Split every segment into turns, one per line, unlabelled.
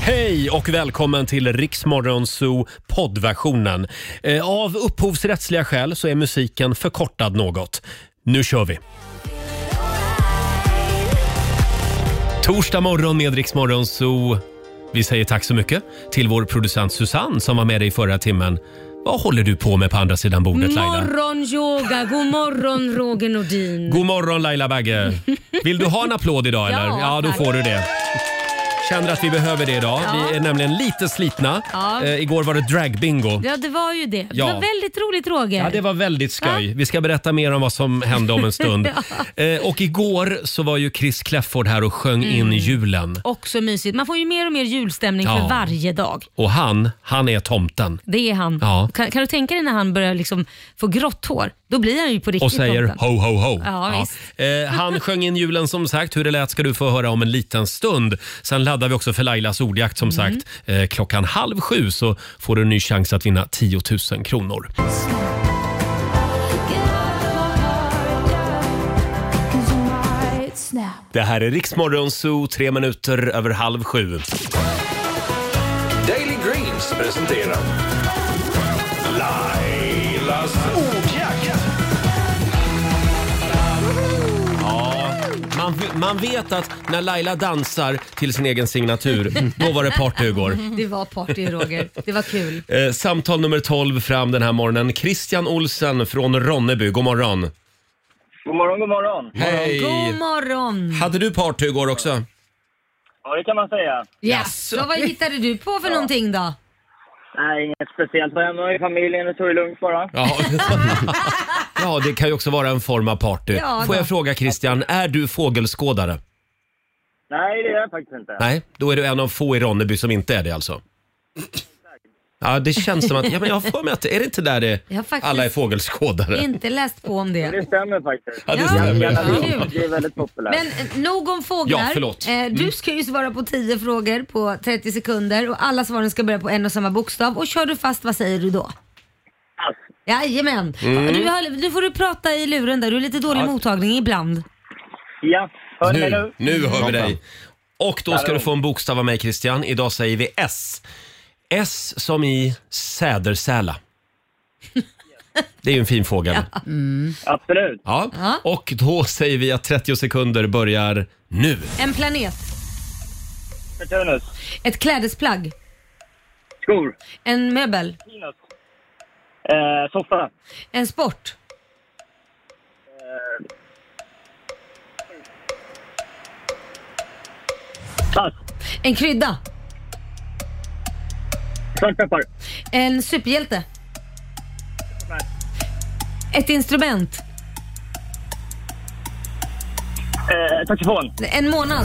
Hej och välkommen till Riksmorgon Zoo poddversionen. Eh, Av upphovsrättsliga skäl så är musiken förkortad något. Nu kör vi! Torsdag morgon med Riksmorgon Zoo. Vi säger tack så mycket till vår producent Susanne som var med dig förra timmen. Vad håller du på med på andra sidan bordet Laila?
Morgonyoga, god morgon Roger Nordin.
God morgon Laila Bagge! Vill du ha en applåd idag eller?
Ja,
ja då
tack.
får du det. Känner att vi behöver det idag.
Ja.
Vi är nämligen lite slitna.
Ja.
Eh, igår var det dragbingo.
Ja, det var ju det.
Ja.
Det var väldigt roligt Roger.
Ja, det var väldigt skoj. Vi ska berätta mer om vad som hände om en stund. eh, och igår så var ju Chris Kläfford här och sjöng in
Mm.
julen.
Också mysigt. Man får ju mer och mer julstämning
Ja.
för varje dag.
Och han, han är tomten.
Det är han.
Ja.
Kan, kan du tänka dig när han börjar liksom få grått hår? Då blir han ju på riktigt
Och säger
tomten.
ho, ho, ho.
Ja, visst.
Eh, han sjöng in julen som sagt. Hur det lät ska du få höra om en liten stund. Sen laddar vi också för Lailas ordjakt som
Mm.
sagt. Eh, klockan halv sju så får du en ny chans att vinna 10 000 kronor. Det här är Riksmorgon Zoo, tre minuter över halv sju.
Daily Greens presenterar Lailas ordjakt.
Man, man vet att när Laila dansar till sin egen signatur, då var det party igår.
Det var party Roger. Det var kul.
Eh, samtal nummer 12 fram den här morgonen. Christian Olsen från Ronneby, god morgon.
God morgon, god morgon.
God morgon.
Hade du party igår också?
Ja, det kan man säga.
Ja.
Jaså.
Ja, vad hittade du på för någonting då?
Nej, inget speciellt. Var hemma i familjen och tog det lugnt bara.
Ja. ja, det kan ju också vara en form av party.
Ja,
Får jag
då.
fråga Christian, är du fågelskådare?
Nej, det är jag faktiskt inte.
Nej, då är du en av få i Ronneby som inte är det alltså. Ja, det känns som att, ja, men jag har för mig att, är det inte där det,
Jag har faktiskt-
alla är fågelskådare?
Inte läst på om det.
Det stämmer faktiskt.
Ja, det
Ja,
stämmer.
ja, kul.
Det är väldigt populärt.
Men eh, nog om fåglar.
Ja, förlåt. Mm.
Eh, Du ska ju svara på 10 frågor på 30 sekunder och alla svaren ska börja på en och samma bokstav. Och kör du fast, vad säger du då?
Pass.
Jajamän.
Mm.
Du, har, du får du prata i luren där, du är lite dålig mottagning ibland.
Ja, hör ni mig
Nu,
nu?
nu hör vi dig. Och då ska du få en bokstav av mig Christian. Idag säger vi S. S som i sädersäla. Det är ju en fin fågel. Ja.
Absolut.
Ja.
Och då säger vi att 30 sekunder börjar nu.
En planet,
Saturnus.
ett klädesplagg,
Skor.
en möbel,
Pinus. Eh, soffa.
en sport,
Pass.
en krydda,
Svartpeppar.
en superhjälte, ett instrument,
Eh, saxofon.
en månad.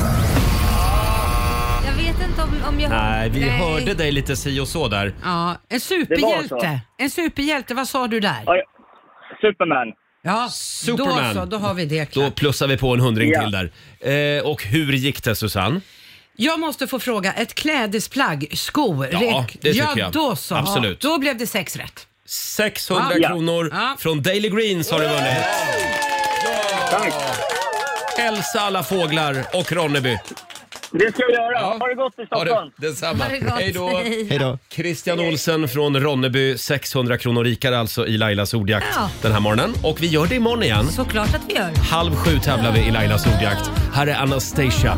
Jag vet inte om, om jag...
Nej, vi hörde dig lite si och så där.
Ja, en
Det var så.
superhjälte. En superhjälte, vad sa du där?
Ja, ja. Superman.
Ja,
Superman.
då så, då har vi det
Då
klart.
plussar vi på en hundring
Ja.
till där. Eh, och hur gick det Susanne?
Jag måste få fråga, ett klädesplagg, skor,
Ja,
räck-
det tycker
ja,
jag.
då så.
Absolut.
Då blev det sex rätt.
600
Ja.
kronor
Ja.
från Daily Greens har du vunnit.
Tack.
Hälsa alla fåglar och Ronneby.
Det ska vi göra. Ha det gott i Stockholm.
det, detsamma.
Ha det gott.
Hej då.
Hej.
Hej då.
Christian Olsen från Ronneby, 600 kronor rikare alltså i Lailas ordjakt
Ja.
den här morgonen. Och vi gör det imorgon igen.
Såklart att vi gör.
Halv sju tävlar vi i Lailas ordjakt. Här är Anastasia.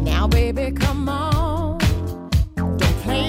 Now, baby, come on. Don't play.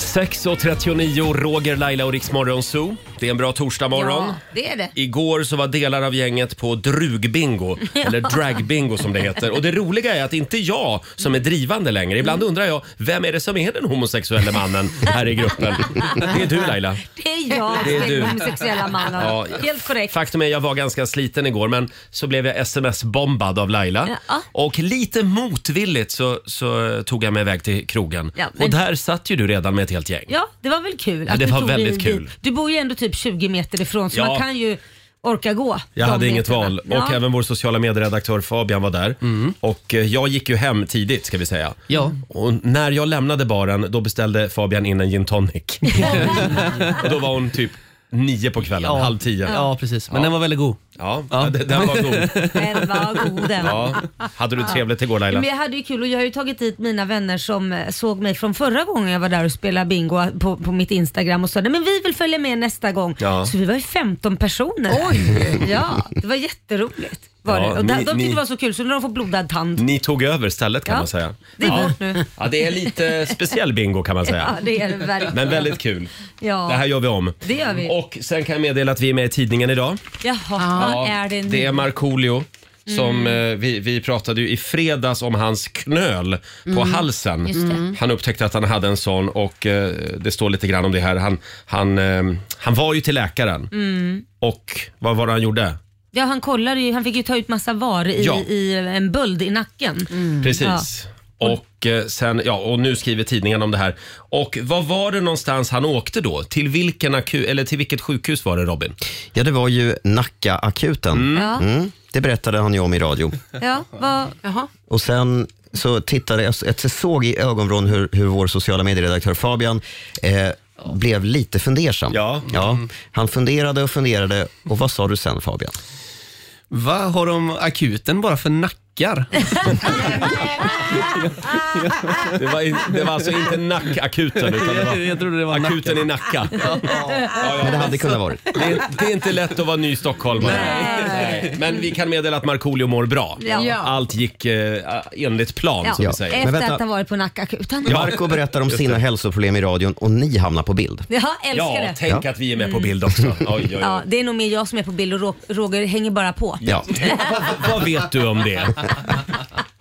6.39, Roger, Laila och Riksmorgon Zoo. Det är en bra torsdagmorgon.
Ja, det är det.
Igår så var delar av gänget på drugbingo, eller dragbingo som det heter. Och det roliga är att inte jag som är drivande längre.
Mm.
Ibland undrar jag, vem är det som är den homosexuella mannen här i gruppen? Det är du Laila.
Det är jag,
Det är
det är
du.
den homosexuella mannen.
Ja.
Helt korrekt.
Faktum är jag var ganska sliten igår men så blev jag sms-bombad av Laila.
Ja.
Och lite motvilligt så, så eh, tog jag mig iväg till krogen.
Ja, men-
Och där satt ju du redan med ett helt gäng.
Ja, det var väl kul? att
det
du
var
tog dig
väldigt
dit.
kul.
Du bor ju ändå typ 20 meter ifrån så
Ja.
man kan ju orka gå.
Jag
de
hade inget
metrarna.
val och
Ja.
även vår sociala medieredaktör Fabian var där. Och eh, jag gick ju hem tidigt ska vi säga.
Ja.
Och när jag lämnade baren då beställde Fabian in en gin tonic. och då var hon typ nio på kvällen, halv tio.
Ja, precis. Men den var väldigt god.
Ja, ja. Den, den var god.
Den var god den.
Ja. Hade du trevligt igår Laila?
Men jag hade ju kul och jag har ju tagit dit mina vänner som eh, såg mig från förra gången jag var där och spelade bingo på, på mitt Instagram och sa "Nej, men vi vill följa med nästa gång.
Ja.
Så vi var ju 15 personer. Oj! Ja, det var jätteroligt. Var
Ja,
det. Och de,
ni-
de tyckte
ni-
det var så kul så nu har de fått blodad tand.
Ni tog över stället kan
Ja,
man säga.
det är
ja.
vårt nu.
Ja, det är lite speciell bingo kan man
Ja,
säga.
det är det verkligen.
Men väldigt kul.
Ja.
Det här gör vi om.
Det gör vi.
Och sen kan jag meddela att vi är med i tidningen idag.
Jaha, vad är det Mm. nu?
Det är Markoolio. Som eh, vi, vi pratade ju i fredags om hans knöl på halsen.
Just det. Mm.
Han upptäckte att han hade en sån och eh, det står lite grann om det här. Han, han, eh, han var ju till läkaren
Mm.
och vad var det han gjorde?
Ja, han kollade ju, han fick ju ta ut massa var i,
Ja.
i en böld i nacken.
Mm. Precis. Och, eh, sen, ja, och nu skriver tidningen om det här. Och vad var det någonstans han åkte då? Till, vilken aku- eller till vilket sjukhus var det Robin?
Ja, det var ju Nacka-akuten.
Ja,
Mm, det berättade han ju om i radio.
ja, vad,
Jaha.
Och sen så tittade jag, jag såg i ögonvrån hur, hur vår sociala medieredaktör Fabian eh, blev lite fundersam.
Ja.
Han funderade och funderade. Och vad sa du sen Fabian?
Va, har de akuten bara för nackar?
Det var, in- det var alltså inte Nackakuten utan det var
Jag trodde det var
akuten i Nacka.
Men det hade kunnat varit.
Det är, det är inte lätt att vara ny stockholmare. Nej. Men vi kan meddela att Markoolio mår bra.
Ja. Ja.
Allt gick eh, enligt plan
ja.
som vi säger.
Men
Efter
vänta.
att ha varit på Nackakuten.
Marco berättar om sina hälsoproblem i radion och ni hamnar på bild.
Ja, älskar
Ja,
det.
tänk att vi är med på bild
Mm.
också. Oj, oj, oj.
Ja, det är nog mer jag som är på bild och Ro- Roger hänger bara på.
Ja.
Vad- Vad vet du om det?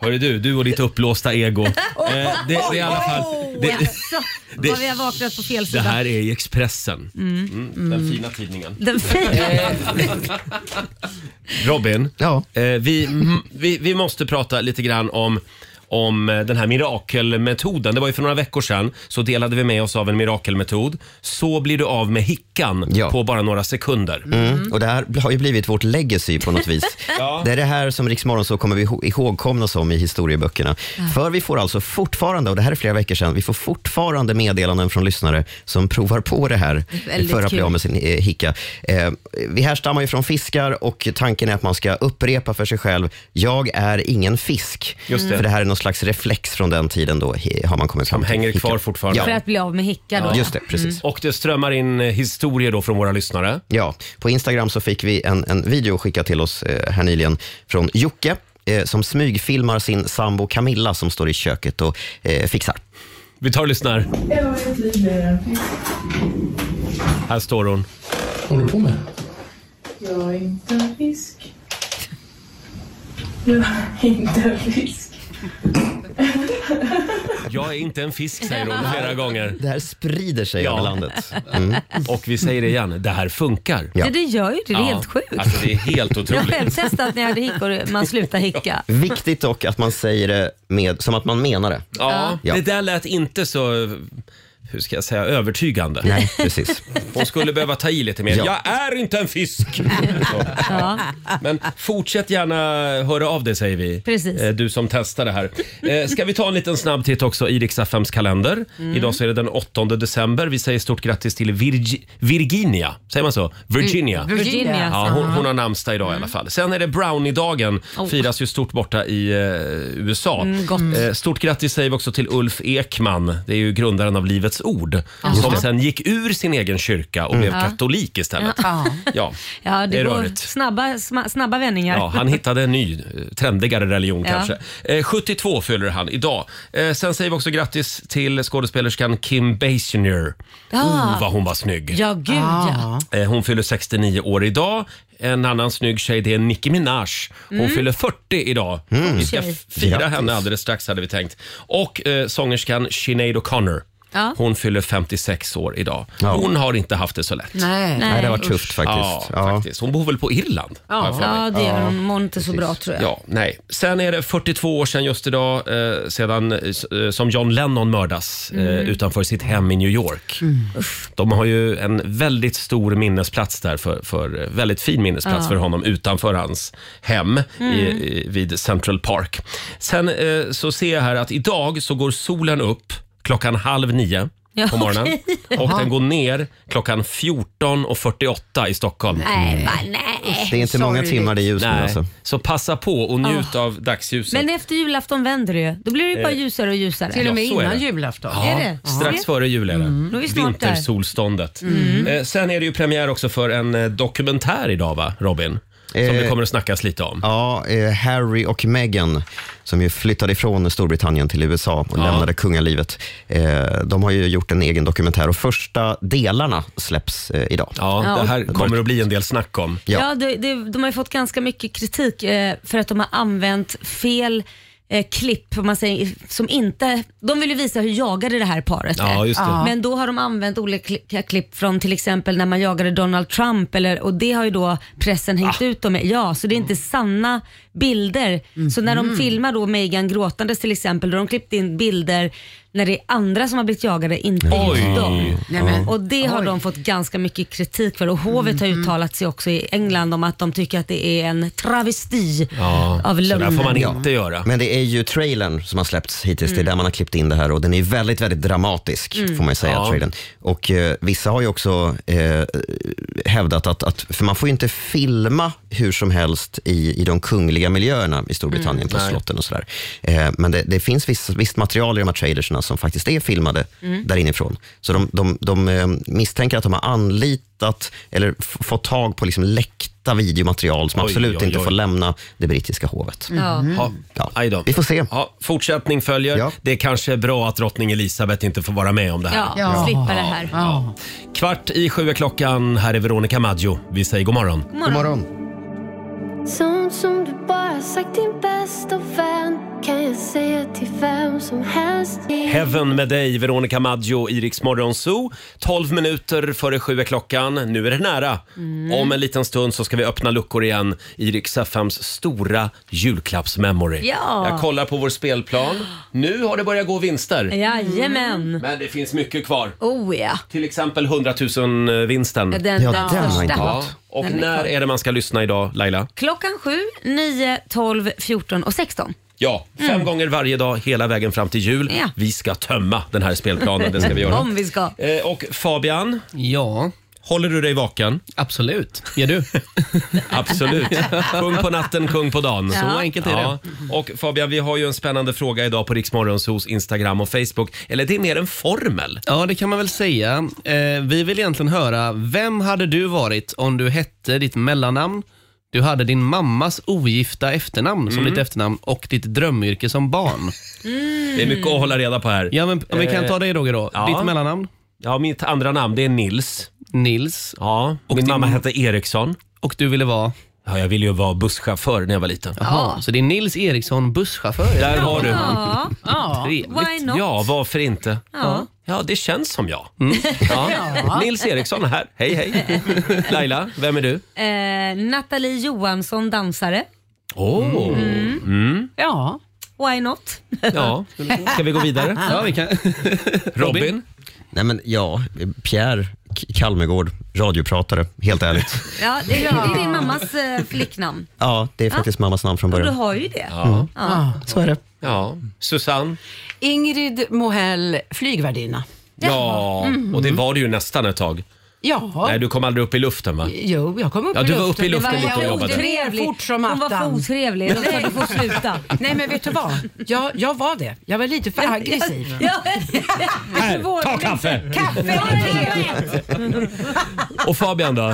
Hörru du, du och ditt uppblåsta ego. Eh, det, det är i alla fall... Det,
Så,
det-
vad vi har vaknat på fel
det
sida.
här är i Expressen. Mm, den fina tidningen.
Den fina.
Eh. Robin,
Ja.
eh, vi, mm, vi, vi måste prata lite grann om om eh, den här mirakelmetoden. Det var ju för några veckor sedan så delade vi med oss av en mirakelmetod. Så blir du av med hickan
Ja.
på bara några sekunder.
Mm. Och det här har ju blivit vårt legacy på något vis. Det är det här som Riksmorgon så kommer vi ihå- ihågkomna som i historieböckerna. För vi får alltså fortfarande, och det här är flera veckor sedan, vi får fortfarande meddelanden från lyssnare som provar på det här
väldigt
för att
kul.
bli av med sin eh, hicka. Eh, vi härstammar ju från fiskar och tanken är att man ska upprepa för sig själv, jag är ingen fisk.
Just det.
För det här är någon slags reflex från den tiden då he- har man kommit fram
De
till
hänger
hicka.
kvar fortfarande.
För att bli av med hicka då.
Ja, Just det, precis.
Och det strömmar in eh, historier då från våra lyssnare.
Ja, på Instagram så fick vi en, en video skickad till oss eh, här nyligen från Jocke eh, som smygfilmar sin sambo Camilla som står i köket och eh, fixar.
Vi tar och lyssnar.
Jag har ett liv mer än fisk.
Här står hon.
Håller du på med?
Jag är inte en fisk. Jag är inte en fisk.
Jag är inte en fisk säger hon flera gånger.
Det här sprider sig
Ja.
över landet.
Och vi säger det igen, det här funkar.
Ja.
Ja. Det gör ju det, det är
Ja,
helt sjukt.
Alltså det är helt
Jag har
otroligt.
själv testat när jag hade hickor, man slutar hicka.
Viktigt dock att man säger det med, som att man menar det.
Ja,
Ja.
det där lät inte så, hur ska jag säga, övertygande.
Nej, precis.
Hon skulle behöva ta i lite mer.
Ja.
Jag är inte en fisk!
Ja.
Men fortsätt gärna höra av dig säger vi.
Precis.
Eh, Du som testar det här. Eh, Ska vi ta en liten snabb titt också i Rix FMs kalender.
Mm.
Idag så är det den 8 december. Vi säger stort grattis till Virgi- Virginia. Säger man så?
Mm.
Virginia.
Virginia. alltså.
Ja, hon, hon har namnsdag idag i alla fall. Sen är det brownie-dagen.
Oh.
Firas ju stort borta i eh, USA.
Mm,
Eh, stort grattis säger vi också till Ulf Ekman. Det är ju grundaren av Livets Ord. Som sen gick ur sin egen kyrka och blev katolik istället. Ja,
Mm. Ja, det,
är
går
rörigt.
snabba, sma- snabba vändningar.
Ja, han hittade en ny, eh, trendigare religion
Ja.
kanske. Eh, 72 fyller han idag. Eh, sen säger vi också grattis till skådespelerskan Kim Basinger. Oh, vad hon var snygg.
Ja, gud ja.
Eh, Hon fyller 69 år idag. En annan snygg tjej det är Nicki Minaj. Hon fyller 40 idag. Vi ska f- fira
Mm. Grattis.
henne alldeles strax hade vi tänkt. Och eh, sångerskan Sinead O'Connor.
Ja.
Hon fyller 56 år idag.
Ja.
Hon har inte haft det så lätt.
Nej.
Nej, det var tufft
Ja,
faktiskt. Ja.
faktiskt. Hon bor väl på Irland? har jag för mig.
Ja, det gör hon. Mår inte så bra tror jag.
Ja, nej. Sen är det 42 år sedan just idag eh, sedan, eh, som John Lennon mördas
Mm.
eh, utanför sitt hem i New York. De har ju en väldigt stor minnesplats där, för, för, eh, väldigt fin minnesplats för honom utanför hans hem
Mm.
i, i, vid Central Park. Sen eh, så ser jag här att idag så går solen upp klockan halv nio.
Ja,
på morgonen. Och den går ner klockan 14.48 i Stockholm.
Nej, va, nej.
Det är inte många
Sorgligt.
timmar det är ljus nu
Nej.
alltså.
Så passa på och njut av dagsljuset.
Men efter julafton vänder det ju. Då blir det ju bara ljusare och ljusare.
Till och med
Ja, så är
innan
det.
julafton.
Är det? Mm.
Strax före jul är det.
Då är vi snart där. Mm.
Vintersolståndet. Eh, sen är det ju premiär också för en eh, dokumentär idag va, Robin? Som
Eh,
det kommer att snackas lite om.
Ja, eh, Harry och Meghan, som ju flyttade ifrån Storbritannien till USA och lämnade kungalivet. Eh, de har ju gjort en egen dokumentär och första delarna släpps eh, idag.
Ja,
Ja.
det här kommer att bli en del snack om.
Ja,
Ja.
det, det, de har ju fått ganska mycket kritik eh, för att de har använt fel eh, klipp, om man säger, som inte... De vill ju visa hur jagade det här paret
Ja,
är.
just det.
Men då har de använt olika klipp från till exempel när man jagade Donald Trump eller, och det har ju då pressen
Ah.
hängt ut dem med. Ja, så det är inte
Mm.
sanna bilder. Så när
Mm-hmm.
de filmar då Meghan gråtandes till exempel, då har de klippt in bilder när det är andra som har blivit jagade, inte
Oj.
just dem.
Nej, men,
Och det har de fått ganska mycket kritik för och hovet har uttalat sig också i England om att de tycker att det är en travesti
Ja, så
av
där
lögnen.
får man inte göra.
Men det är ju trailern som har släppts hittills. Det är där man har klippt in det här och den är väldigt, väldigt dramatisk får man ju säga.
Ja.
Trailern. Och eh, vissa har ju också eh, hävdat att, att, för man får ju inte filma hur som helst i, i de kungliga miljöerna i Storbritannien på slotten och sådär. Eh, men det, det finns viss, visst material i de här trailerserna som faktiskt är filmade där inifrån. Så de, de, de eh, misstänker att de har anlitat eller f- fått tag på liksom läckta videomaterial som
Oj,
absolut
oj,
inte
oj.
får lämna det brittiska hovet.
Ja.
Ja,
Ja.
aj då.
Vi får se.
Ja, fortsättning följer.
Ja.
Det är kanske är bra att drottning Elisabeth inte får vara med om det här.
Ja, slippa det här.
ja.
Kvart i sju är klockan. Här är Veronica Maggio. Vi säger god morgon.
God morgon.
Sånt som du bara sagt din bästa vän kan jag säga till vem som helst.
Heaven med dig, Veronica Maggio, i Rix Morgon Zoo. 12 minuter före sju är klockan. Nu är det nära.
Mm.
Om en liten stund så ska vi öppna luckor igen i Rix FMs stora julklappsmemory.
Ja.
Jag kollar på vår spelplan. Nu har det börjat gå vinster.
Jajamän.
Men det finns mycket kvar.
Oh ja.
Till exempel 100 000-vinsten.
Den, den,
Ja, den har
första.
inte
Ja. Och när är det man ska lyssna idag, Laila?
Klockan 7, 9, 12, 14 och 16.
Ja, fem gånger varje dag hela vägen fram till jul.
Mm. Ja.
Vi ska tömma den här spelplanen, det ska vi göra.
Om vi ska.
Eh, Och Fabian,
Ja,
håller du dig vaken?
absolut. Gör du?
Absolut. Kung på natten, kung på dagen.
Så Ja.
enkelt är det.
Och Fabian, vi har ju en spännande fråga idag på Riksmorgonsos Instagram och Facebook. Eller det är mer en formel.
Ja, det kan man väl säga. Eh, vi vill egentligen höra, vem hade du varit om du hette ditt mellannamn, du hade din mammas ogifta efternamn som ditt efternamn och ditt drömyrke som barn?
Det är mycket att hålla reda på här.
Ja, men om vi kan ta dig Roger då.
ja.
Ditt mellannamn?
Ja, mitt andra namn det är Nils.
Nils.
Ja, min
din-
mamma hette Eriksson.
Och du ville vara?
Ja, jag ville ju vara busschaufför när jag var liten.
Jaha, så det är Nils Eriksson, busschaufför.
Där har du.
Ja,
Trevligt.
why not?
Ja, varför inte?
Ja.
Ja, det känns som jag.
Mm.
Ja. Nils Eriksson här. Hej, hej. Laila, vem är du?
Eh, Nathalie Johansson, dansare.
Åh,
ja.
Why not?
Mm. ja. Ska vi gå vidare?
Ja, vi kan.
Robin?
Nej men ja, Pierre K- Kalmegård, radiopratare, helt ärligt.
Ja, det, det är din mammas eh, flicknamn.
Ja, det är faktiskt mammas namn från
Och du
början.
har ju det.
Så är det.
Ja. Susanne?
Ingrid Mohell, flygvärdinna.
Ja, och det var det ju nästan ett tag.
Ja.
Nej, du kom aldrig upp i luften va?
Jo, jag kom upp
Ja,
i
du
luften.
var uppe i luften
Det var
lite och
jag
jobbade.
otrevlig. Fort som
Hon var för
attan.
otrevlig. De sa du får sluta.
Nej, men vet du vad? Jag, jag var det. Jag var lite för aggressiv.
Ja.
Här, ta kaffe!
Kaffe och te!
Och Fabian då?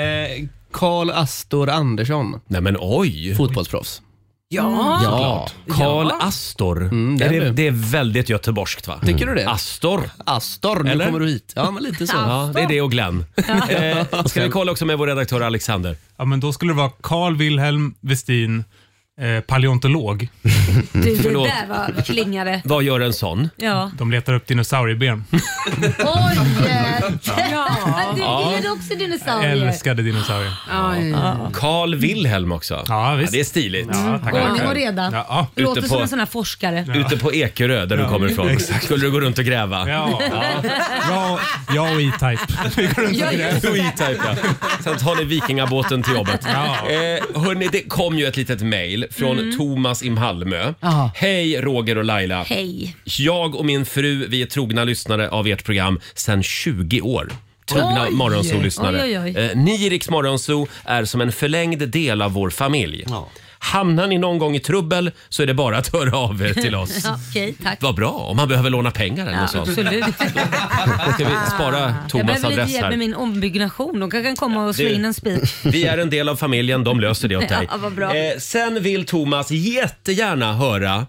Eh, Karl Astor Andersson,
Nej men oj!
fotbollsproffs.
Ja.
Ja, Karl Astor.
det
är
Mm, är
det,
du.
det är väldigt göteborgskt va? Mm.
Tycker du det?
Astor.
Astor, nu
Eller?
kommer du hit. Ja, men lite så.
Ja, det är det och Glenn. Eh, ska vi kolla också med vår redaktör Alexander?
Ja, men då skulle det vara Carl Wilhelm Westin, eh, paleontolog.
Du, det
Förlåt.
där var klingade.
Vad gör en sån?
Ja.
De letar upp dinosaurieben.
Oj! Du gillade också
Jag
dinosaurier.
älskade dinosaurier.
Carl Wilhelm också.
Ja, visst.
det är stiligt.
Ja, tack.
Ordning och reda.
Ja, ja.
Du låter
Ute
som
på-
en sån här forskare.
Ute på Ekerö där du kommer ifrån. Skulle du gå runt och gräva?
Ja, ja. ja och E-Type. Vi går runt och gräver.
Du E-Type ja. Sen tar ni vikingabåten till jobbet.
Ja.
Eh, hörni, det kom ju ett litet mejl mejl från
Mm.
Thomas i Malmö.
Ja.
Hej Roger och Laila.
Hej.
Jag och min fru, vi är trogna lyssnare av ert program sedan 20 år. Trogna
Oj!
Morgonzoo-lyssnare.
Oj, oj, oj.
Eh, Ni i Rix Morgonzoo är som en förlängd del av vår familj. Hamnar ni någon gång i trubbel så är det bara att höra av er till oss.
ja, Okej, tack.
Vad bra om man behöver låna pengar eller
Ja,
så.
absolut.
Då ska vi spara
Jag
Thomas
behöver lite
adress
hjälp med
här.
min ombyggnation. De kan komma och slå
Du-
in en spik.
Vi är en del av familjen, de löser det åt dig.
Ja, vad bra.
Eh, sen vill Thomas jättegärna höra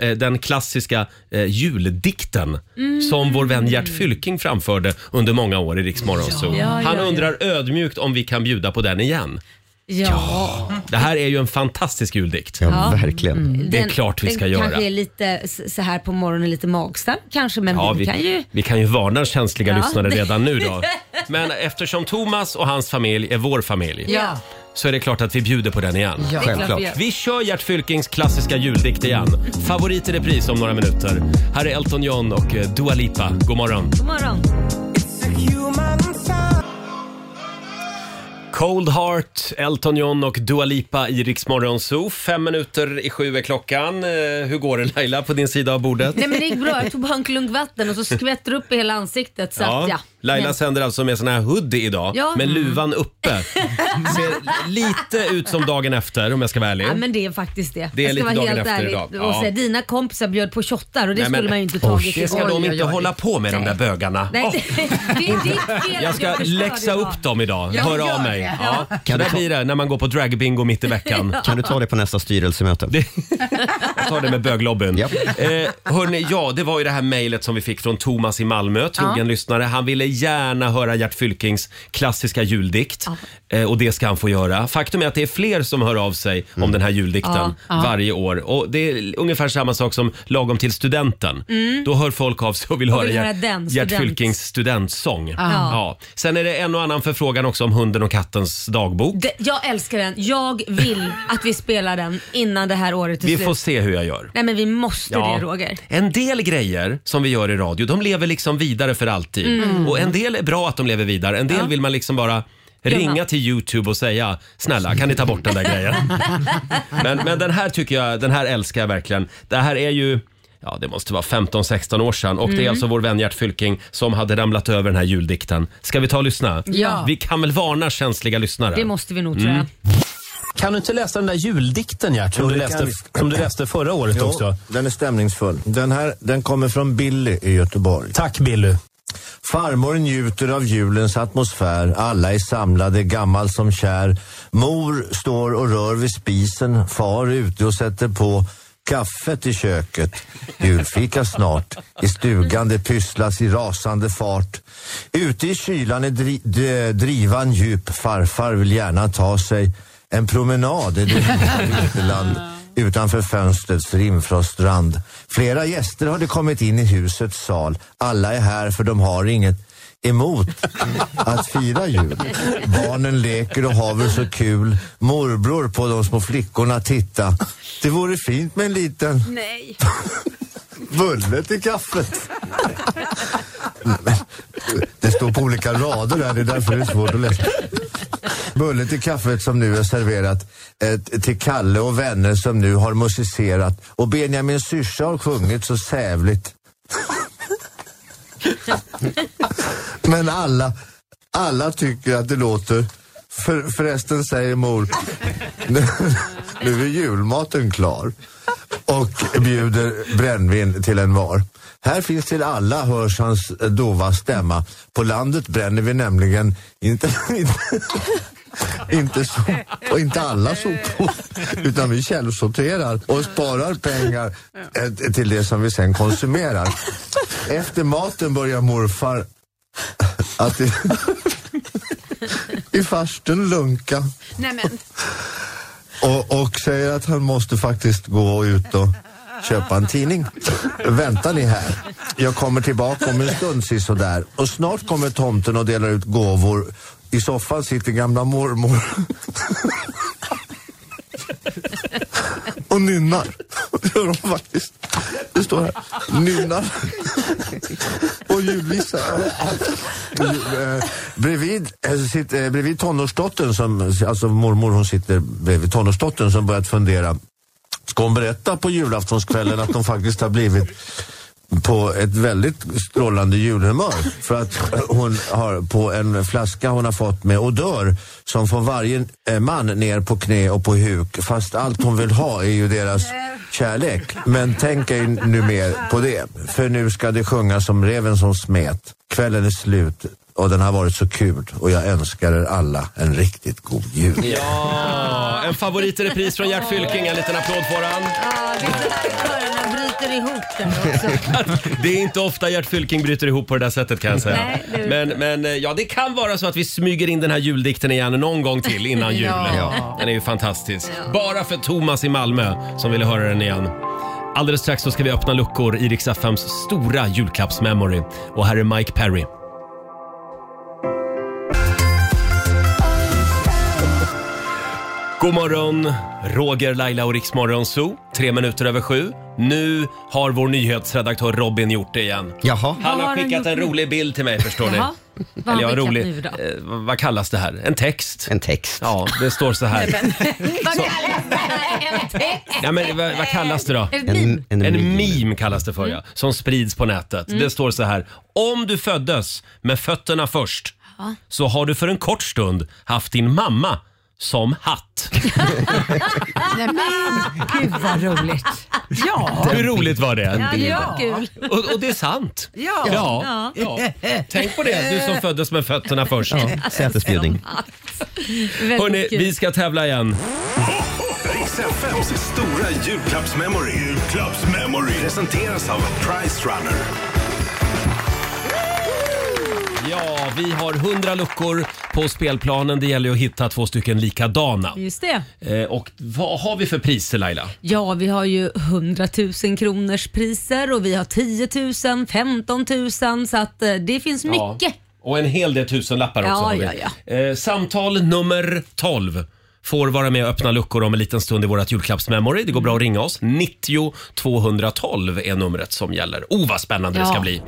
eh, den klassiska eh, juldikten
Mm.
som vår vän Gert Fylking framförde under många år i Rix Morgonzoo.
Ja,
Han
ja, ja.
undrar ödmjukt om vi kan bjuda på den igen.
Ja.
Det här är ju en fantastisk juldikt.
Ja, Mm. verkligen.
Det är
Den-
klart vi ska
den
göra.
kanske är lite s- så här på morgonen, lite magstark kanske, men
Ja,
vi, kan ju...
vi kan ju varna känsliga
Ja.
lyssnare redan nu då. Men eftersom Thomas och hans familj är vår familj
Ja.
så är det klart att vi bjuder på den igen.
Ja, det är klart Självklart. vi gör.
Vi kör Gert Fylkings klassiska juldikt igen. Favorit i repris om några minuter. Här är Elton John och eh, Dua Lipa. God morgon.
God morgon.
Cold Heart, Elton John och Dua Lipa i Rix Morgon Zoo. Fem minuter i sju är klockan. Eh, Hur går det Laila på din sida av bordet?
Nej men det gick bra, jag tog bara en klunk vatten och så skvätter det upp i hela ansiktet. Så ja. Att, ja.
Laila
Men-
sänder alltså med sån här hoodie idag,
Ja. Mm.
med luvan uppe. Ser lite ut som dagen efter om jag ska vara ärlig.
Ja men det är faktiskt det.
Det är
jag
lite
ska vara
dagen
helt
efter
ärlig
idag.
och
Ja.
säga dina kompisar bjöd på shottar och det
Nej, men-
skulle man ju inte tagit.
Det ska
igår.
de inte hålla på med de där bögarna.
Nej,
Åh,
det, det är ditt fel. att
jag ska
jag förstår
läxa
det idag.
upp dem idag.
Ja,
Hör
gör
av
det.
mig.
Ja.
Ja. Så där blir det när man går på dragbingo mitt i veckan.
Kan du ta det på nästa styrelsemöte?
Jag tar det med böglobbyn. Eh, hörni, ja, det var ju det här mejlet som vi fick från Thomas i Malmö, trogen
Ja.
lyssnare. Han ville gärna höra Gert Fylkings klassiska juldikt. Eh, och det ska han få göra. Faktum är att det är fler som hör av sig om den här juldikten
Ja. Ja.
varje år. Och det är ungefär samma sak som lagom till studenten.
Mm.
Då hör folk av sig och vill
Och
höra
vill höra
Gert-
den,
Gert
student.
Fylkings studentsång.
Ja.
Ja. Sen är det en och annan förfrågan också om hunden och kattens dagbok.
Det- Jag älskar den. Jag vill att vi spelar den innan det här året är
Vi
slut.
får se hur jag gör.
Nej men vi måste
Ja.
det Roger.
En del grejer som vi gör i radio, de lever liksom vidare för alltid.
Mm.
Och en del är bra att de lever vidare, en del
Ja.
vill man liksom bara
Gömma.
ringa till Youtube och säga “Snälla, kan ni ta bort den där grejen?” men, men den här tycker jag, den här älskar jag verkligen. Det här är ju Ja, det måste vara 15-16 år sedan och det är
Mm.
alltså vår vän Gert Fylking som hade ramlat över den här juldikten. Ska vi ta och lyssna?
Ja.
Vi kan väl varna känsliga lyssnare?
Det måste vi nog
Mm.
tror jag.
Kan du inte läsa den där juldikten Gert,
Jo, det kan vi.
förra året
jo, den är stämningsfull. Den här den kommer från Billy i Göteborg. Tack Billy. Farmor njuter av julens atmosfär. Alla är samlade, gammal som kär. Mor står och rör vid spisen. Far är ute och sätter på kaffet i köket. Julfika snart. I stugan det pysslas i rasande fart. Ute i kylan är dri- d- drivan djup. Farfar vill gärna ta sig en promenad i det lilla uteland utanför fönstrets rimfrostrand. Flera gäster hade kommit in i husets sal. Alla är här för de har inget emot att fira jul. Barnen leker och har väl så kul. Morbror på de små flickorna titta. Det vore fint med en liten
Nej.
bulle till kaffet. Men, Det står på olika rader där, det är därför det är svårt att läsa. Bullen till kaffet som nu är serverat eh, till Kalle och vänner som nu har musicerat och Benjamins syrsa har sjungit så sävligt. Men alla, alla tycker att det låter... För, förresten säger mor, nu, nu är julmaten klar och bjuder brännvin till en var. Här finns till alla, hörs hans dova stämma. På landet bränner vi nämligen inte, inte, inte, so, och inte alla
Eh.
sopor, utan vi källsorterar och sparar pengar eh, till det som vi sen konsumerar. Efter maten börjar morfar att i, i farstun lunka
Nej, men.
och, och säger att han måste faktiskt gå ut och köpa en tidning. Vänta ni här. Jag kommer tillbaka om en stund sisådär. Och snart kommer tomten och delar ut gåvor. I soffan sitter gamla mormor och nynnar. Det gör de faktiskt. Det står här. Nynnar. På julvissa. Eh, bredvid, eh, sitter, eh, bredvid tonårsdottern, som, alltså mormor hon sitter bredvid tonårsdottern som börjat fundera. Ska hon berätta på julaftonskvällen att hon faktiskt har blivit på ett väldigt strålande julhumör för att hon har på en flaska hon har fått med odör som får varje eh, man ner på knä och på huk fast allt hon vill ha är ju deras kärlek. Men tänk er nu mer på det för nu ska det sjunga som reven som smet. Kvällen är slut och den har varit så kul och jag önskar er alla en riktigt god jul.
Ja, en favorit i repris från Gert Fylking. En liten applåd får han.
det är så att körerna bryter ihop där också.
Det är inte ofta Gert Fylking bryter ihop på det där sättet kan jag säga.
Nej, det är
Men, men eh, ja, det kan vara så att vi smyger in den här juldikten igen någon gång till innan jul.
Ja. Ja.
Den är ju fantastisk. Bara för Thomas i Malmö som ville höra den igen. Alldeles strax så ska vi öppna luckor i Rix FMs stora julklappsmemory. Och här är Mike Perry. God morgon, Roger, Laila och Riksmorgon Zoo. Tre minuter över sju. Nu har vår nyhetsredaktör Robin gjort det igen.
Jaha.
Han
Vad
har
har
skickat
han
en
gjort nu?
rolig bild till mig förstår ni.
Jaha. Vad har
Eller ja,
han skickat
rolig.
nu då?
eh, vad kallas det här? En text? En
text.
Ja, det står så här.
Vad kallas det här? En text?
Ja, men, vad, vad kallas det då?
En meme.
En, meme kallas det för ja, som sprids på nätet.
Mm.
Det står så här. Om du föddes med fötterna först
Ja.
så har du för en kort stund haft din mamma som hatt.
Nej, men, gud vad roligt. Ja.
Hur roligt var det?
Ja, det var kul.
Och, och det är sant.
Ja.
Ja. Ja. Tänk på det, du som föddes med fötterna först.
Ja, sätesbjudning.
Väldigt
Hörni,
kul.
vi ska tävla igen.
Riks FMs stora julklappsmemory. Julklappsmemory. Presenteras av Price Runner.
Ja, vi har 100 luckor på spelplanen. Det gäller ju att hitta två stycken likadana.
Just det.
Eh, och vad har vi för priser Laila?
Ja, vi har ju 100 000 kronors priser och vi har 10 000, 15 000 så att eh, det finns
Ja.
mycket.
Och en hel del tusenlappar också
Ja,
har vi.
ja,
Eh, samtal nummer 12 får vara med och öppna luckor om en liten stund i vårt julklappsmemory. Det går bra att ringa oss. 90 212 är numret som gäller. Oh, vad spännande det ska
Ja.
bli.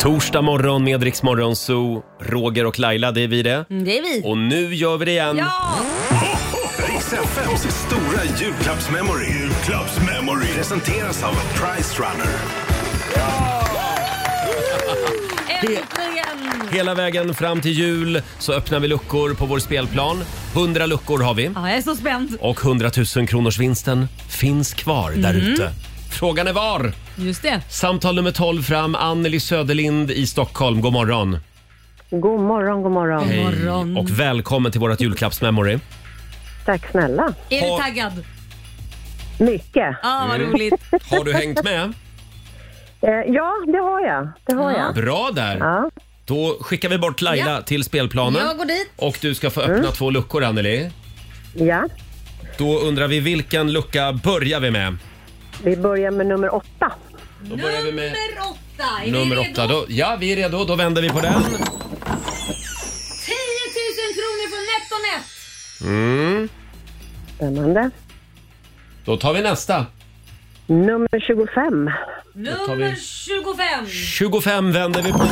Torsdag morgon med Rix Morgon Zoo. Roger och Laila, det är vi det.
Mm, Det är vi.
Och nu gör vi det igen.
Ja!
Riks FMs stora julklappsmemory. Julklappsmemory. Presenteras av Price Runner.
Äntligen!
Hela vägen fram till jul så öppnar vi luckor på vår spelplan. 100 luckor har vi.
Ja, jag är så spänd.
Och 100 000 kronors vinsten finns kvar där
Mm.
Mhm.
ute. Frågan är var?
Just det.
Samtal nummer 12 fram. Anneli Söderlind i Stockholm. God morgon.
God morgon, god morgon.
Hej och välkommen till vårt julklappsmemory.
Tack snälla.
Är du taggad?
Mycket.
Ja, vad
Mm.
roligt.
Har du hängt med?
Eh, ja, det har jag. Det har jag.
Bra där. Då skickar vi bort Laila
Ja. Mm.
till spelplanen.
Jag går dit.
Och du ska få öppna två luckor, Anneli.
Ja,
Då undrar vi vilken lucka börjar vi med?
vi börjar med nummer åtta.
Då börjar vi med
Nummer åtta. Är
nummer
ni redo?
åtta. Då, ja, vi är redo. Då vänder vi på den.
10 000 kronor från NetOnNet.
Mm.
Spännande.
Då tar vi nästa.
Nummer 25.
tar vi-
Nummer 25.
25 vänder vi på.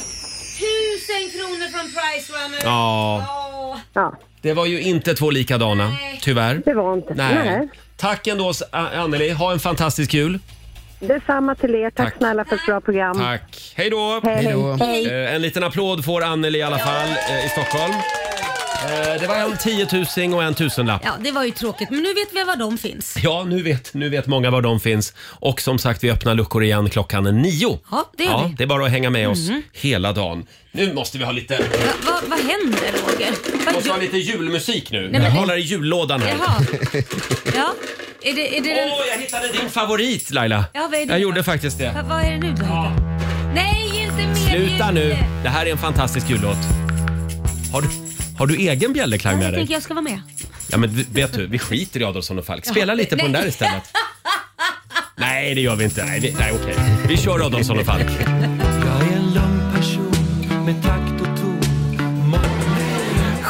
1000 kronor från Price Runner.
Ja.
ja.
Det var ju inte två likadana, tyvärr.
Det var inte.
Nej.
Nej. Mm.
Tack ändå, S- A- Anneli. Ha en fantastisk jul.
Detsamma till er. Tack, snälla för ett bra program.
Tack. Hej då!
Hej, hej. Hej då. Hej.
Eh, En liten applåd får Anneli i alla fall eh, i Stockholm. Eh, Det var en tiotusing och en tusenlapp.
Ja, det var ju tråkigt, men nu vet vi var de finns.
Ja, nu vet, nu vet många var de finns. Och som sagt, vi öppnar luckor igen klockan nio.
Ja, det gör vi.
Det är bara att hänga med oss
Mhm.
hela dagen. Nu måste vi ha lite,
Va, va, vad händer, Roger? Vad
måste ha lite julmusik nu.
men
jag
det-
håller i jullådan här.
Jaha. Ja, är det, är det den...
Åh, jag hittade din favorit Laila.
Ja, vad är det
jag
då?
gjorde faktiskt det.
Va, vad är det nu du har hittat? Nej, inte mer
Sluta
ljud.
nu! Det här är en fantastisk jullåt. Har du, har du egen bjällerklang med
Jag tänker
dig?
jag ska vara med.
Ja, men vi- vet du, vi skiter i Adolfsson och Falk. Spela lite på den där istället. Nej, det gör vi inte. Nej, vi, nej okej. Vi kör Adolfsson och Falk.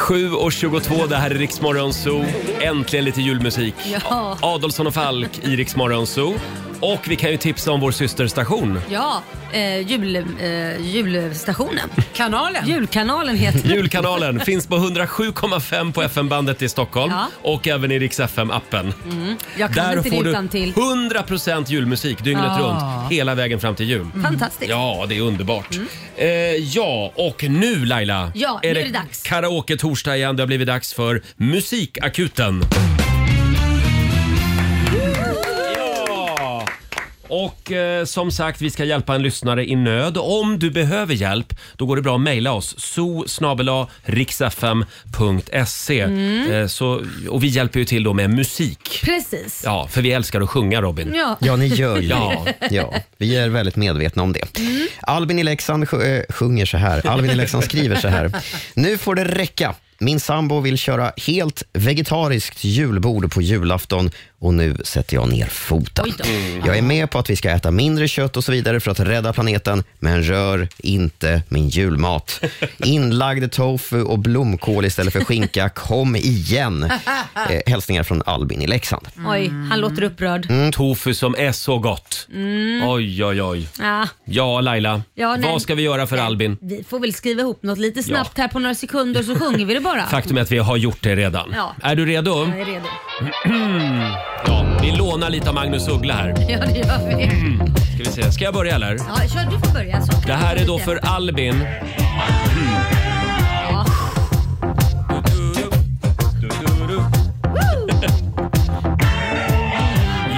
7.22, det här är Riksmorgon Zoo. Äntligen lite julmusik.
Ja.
Adolfsson och Falk i Riksmorgon Zoo. Och vi kan ju tipsa om vår systerstation.
Ja, eh, jul, eh, julstationen.
Kanalen.
Julkanalen heter den.
Julkanalen finns på 107,5 på FM-bandet i Stockholm
Ja.
och även i Rix FM-appen.
Mm. Jag kan
Där
inte
får
det
du
utan till.
100% julmusik dygnet
Ja.
runt hela vägen fram till jul.
Mm. Fantastiskt. Mm.
Ja, det är underbart. Eh, ja, och nu Laila
Ja, nu är det dags.
karaoke-torsdag igen. Det har blivit dags för Musikakuten. Ja! Och eh, som sagt, vi ska hjälpa en lyssnare i nöd. Om du behöver hjälp, då går det bra att mejla oss. so
Mm.
eh, så, Och vi hjälper ju till då med musik.
Precis.
Ja, för vi älskar att sjunga Robin.
Ja.
Ja, ni gör ju
Ja.
det. Ja, vi är väldigt medvetna om det. Albin i Leksand sj- eh, sjunger så här. Albin i Leksand skriver så här. Nu får det räcka. Min sambo vill köra helt vegetariskt julbord på julafton och nu sätter jag ner foten. Jag är med på att vi ska äta mindre kött och så vidare för att rädda planeten, men rör inte min julmat. Inlagd tofu och blomkål istället för skinka. Kom igen! Eh, hälsningar från Albin i Leksand.
Oj, han låter upprörd.
Mm. Tofu som är så gott.
Mm.
Oj, oj, oj.
Ja,
Ja, Laila.
Ja, nej.
vad ska vi göra för Albin?
vi får väl skriva ihop något lite snabbt här på några sekunder så sjunger vi det bara.
Faktum är att vi har gjort det redan.
Ja.
Är du redo?
Jag är redo.
ja, vi lånar lite av Magnus Uggla här.
Ja, det gör vi.
Ska, vi se. ska jag börja eller?
Ja, kör, du får börja. Så.
Det här är då för Albin.
Ja.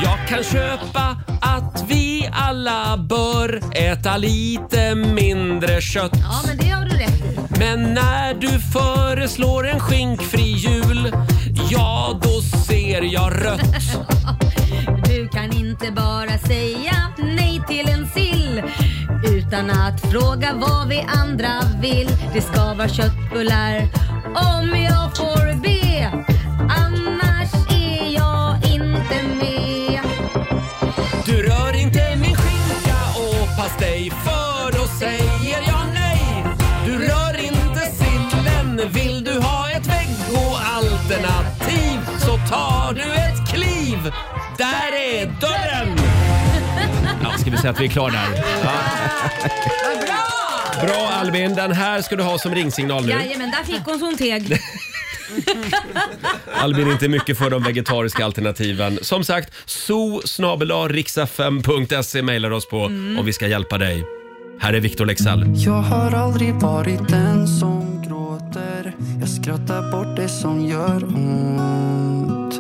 Jag kan köpa att vi alla bör äta lite mindre kött.
ja, men det har du rätt i.
Men när du föreslår en skinkfri jul, ja då ser jag rött.
Du kan inte bara säga nej till en sill utan att fråga vad vi andra vill. Det ska vara köttbullar om jag får be. Annars är jag inte med.
Du rör inte min skinka och pastej för då säger jag nej. Du rör inte sillen. Vill du ha ett veggoalternativ så tar du ett kliv. Där är dörren! Ja, ska vi säga att vi är klara där? Bra! Bra Albin, den här ska du ha som ringsignal nu.
Jajamän, där fick hon sån teg.
Albin inte mycket för de vegetariska alternativen. Som sagt, so riksfm.se mejlar oss på
Mm.
om vi ska hjälpa dig. Här är Victor Lexell.
Jag har aldrig varit den som gråter Jag skrattar bort det som gör ont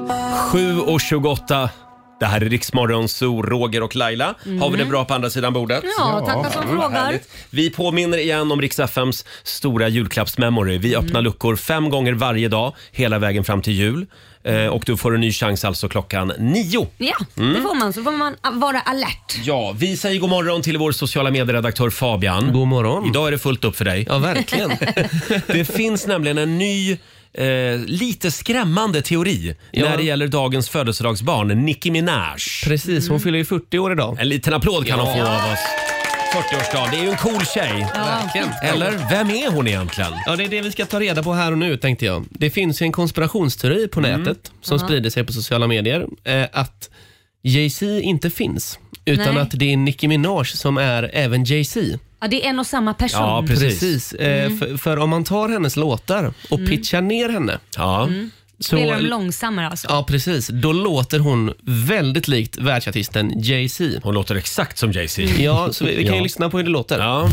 7.28. Det här är Riksmorgon, Zoo, Roger och Laila.
Mm.
Har vi det bra på andra sidan bordet?
Ja, tackar som
Mm,
frågar.
härligt. Vi påminner igen om Rix FMs stora julklappsmemory. Vi
Mm.
öppnar luckor fem gånger varje dag hela vägen fram till jul. Eh, och du får en ny chans alltså klockan nio.
Ja,
Mm.
det får man. Så får man vara alert.
Ja, vi säger god morgon till vår sociala medieredaktör Fabian. God morgon. Idag är det fullt upp för dig. Ja,
verkligen.
det finns nämligen en ny Eh, lite skrämmande teori
Ja.
när det gäller dagens födelsedagsbarn, Nicki Minaj. Precis, hon fyller ju 40 år idag. En liten applåd kan
Ja.
hon få av oss. 40-årsdag, det är ju en cool tjej.
Verkligen.
Eller vem är hon egentligen?
Ja, det är det vi ska ta reda på här och nu tänkte jag. Det finns ju en konspirationsteori på
Mm.
nätet som
Ja.
sprider sig på sociala medier. Eh, att Jay-Z inte finns, utan
Nej.
att det är Nicki Minaj som är även Jay-Z.
Ja, det är en och samma person.
Eh,
Mm.
För, för om man tar hennes låtar och
Mm.
pitchar ner henne.
Ja.
Mm. Spelar de långsammare alltså?
Ja, precis. Då låter hon väldigt likt världsartisten Jay-Z.
Hon låter exakt som Jay-Z.
Ja, så vi, vi kan ju
Ja.
lyssna på hur det låter.
Ja.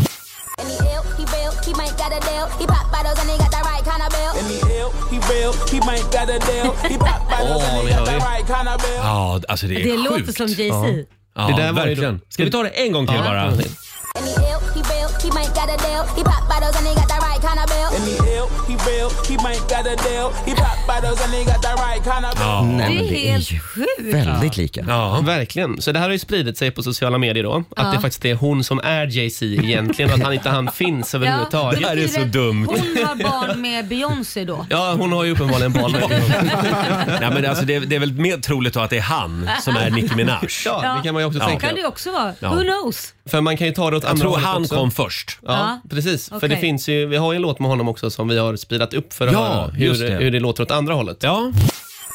He real, he might got a deal. He pop bottles and he got the right kind of bill. And he ill, he real, he might got a deal. He pop bottles
Åh,
and
ni
he got
hör
the
ju.
right kind of bill.
Ja, alltså det är
Det
sjukt.
låter som Jay-Z.
Ja,
Det där var ju då-
verkligen. Ska vi ta det en gång till
Ja.
bara?
And he ill, he real, he might got a deal. He pop bottles and he got the right kind of bill. And he ill, he real, he might got a deal. He pop bottles and he got the right kind of bill.
Nej, men det är ju väldigt lika.
Ja.
Verkligen. Så det här har ju spridit sig på sociala medier då. Att
Ja.
det faktiskt är hon som är Jay-Z egentligen och att han inte han finns överhuvudtaget.
Ja, betyder att Hon har barn med Beyoncé då.
Ja, hon har ju uppenbarligen barn med
Nej, men alltså, det, är, det är väl mer troligt då att det är han som är Nicki Minaj.
Ja, det kan man ju också
Ja.
tänka.
Kan det också vara.
Ja.
Who knows?
För man kan ju ta det åt
Jag
andra
tror
hållet
han
också.
kom först.
Ja,
Ja.
precis. För det
Okej.
finns ju, vi har ju en låt med honom också som vi har speedat upp för att
Ja,
höra hur
just det.
det. hur det låter åt andra hållet.
Ja.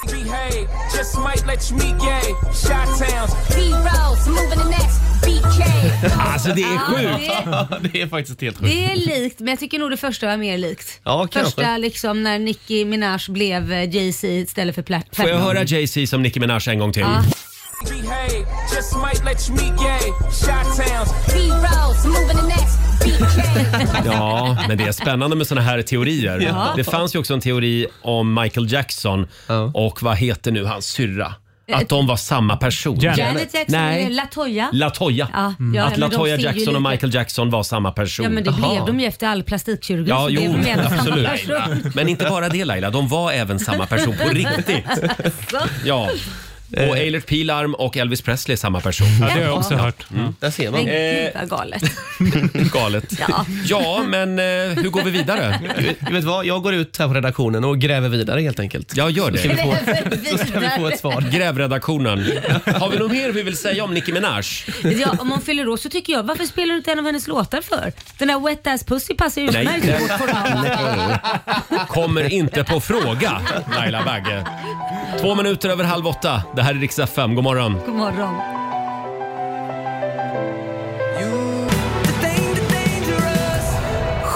Behave, just might let you meet gay. Shot towns.
B-rolls, moving the next BK.
Alltså det
är sjukt. Ja,
det är faktiskt helt sjukt.
Det är likt, men jag tycker nog det första var mer likt.
Ja, kanske.
Första liksom när Nicki Minaj blev eh, Jay-Z istället för Plat-
Får jag
Platinum.
höra Jay-Z som Nicki Minaj en gång till?
Ja.
Behave, just might let you meet gay. Shot towns.
B-rolls, moving the next BK.
Ja, men det är spännande med såna här teorier.
Ja.
Det fanns ju också en teori om Michael Jackson och vad heter nu hans syrra? Att de var samma person.
Eh, Janet Jackson, Nej.
Nej,
Latoya.
Latoya.
Ja, ja,
Att
men de
Latoya
ser ju
Jackson och
lite-
Michael Jackson var samma person.
Ja men det
Aha.
blev de ju efter all plastikkirurgi.
Ja,
så
jo,
blev de även samma
absolut.
person.
Men inte bara det Laila, de var även samma person på riktigt.
Så.
Ja. Och Eilert Pilarm och Elvis Presley är samma person.
Ja, det har jag också
hört. Mm. Där ser
Men
man.
gud vad galet.
galet. Ja. men eh, hur går vi vidare?
Du vet vad, jag går ut här på redaktionen och gräver vidare helt enkelt.
Jag gör det.
Ska vi få,
Gräver
så ska vi få
vidare.
ett svar.
Grävredaktionen. Har vi något mer vi vill säga om Nicki Minaj?
Ja, om hon fyller år så tycker jag, varför spelar du inte en av hennes låtar för? Den där Wet Ass Pussy passar ju
Nej,
utmärkt i vårt program.
den kommer inte på fråga, Laila Bagge. Två minuter över halv åtta. Det här är riks FM. God morgon.
God morgon.
Dangerous.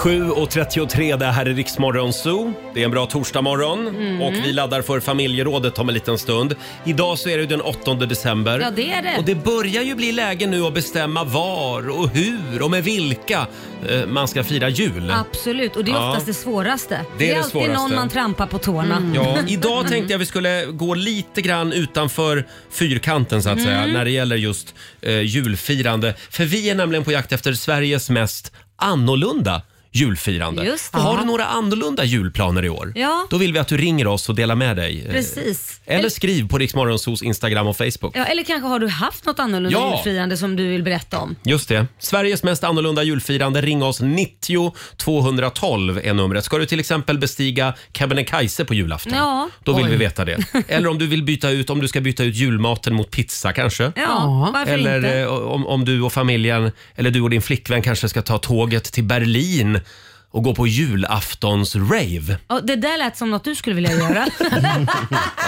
7.33, det här är Riksmorgon Zoo. Det är en bra torsdagmorgon
Mm.
och vi laddar för familjerådet om en liten stund. Idag så är det ju den 8 december.
Ja, det är det.
Och det börjar ju bli läge nu att bestämma var och hur och med vilka eh, man ska fira jul.
Absolut, och det är
Ja.
oftast det svåraste.
Det är det
alltid
svåraste. Mm.
någon man trampar på tårna.
Ja, idag tänkte jag vi skulle gå lite grann utanför fyrkanten så att säga
Mm.
när det gäller just eh, julfirande. För vi är nämligen på jakt efter Sveriges mest annorlunda julfirande.
Just det.
Har
Ja.
du några annorlunda julplaner i år?
Ja.
Då vill vi att du ringer oss och delar med dig. Eh,
Precis.
Eller skriv på Riksmorgonsos Instagram och Facebook.
Ja, eller kanske har du haft något annorlunda
Ja.
julfirande som du vill berätta om?
Just det. Sveriges mest annorlunda julfirande. Ring oss 90 212 är numret. Ska du till exempel bestiga Kebnekaise på julafton?
Ja.
Då vill
Oj.
vi veta det. Eller om du vill byta ut, om du ska byta ut julmaten mot pizza kanske?
Ja, varför
eller
inte?
eh, om, om du och familjen, eller du och din flickvän kanske ska ta tåget till Berlin och gå på julaftons-rave.
Ja, det där lät som något du skulle vilja göra.
Ja,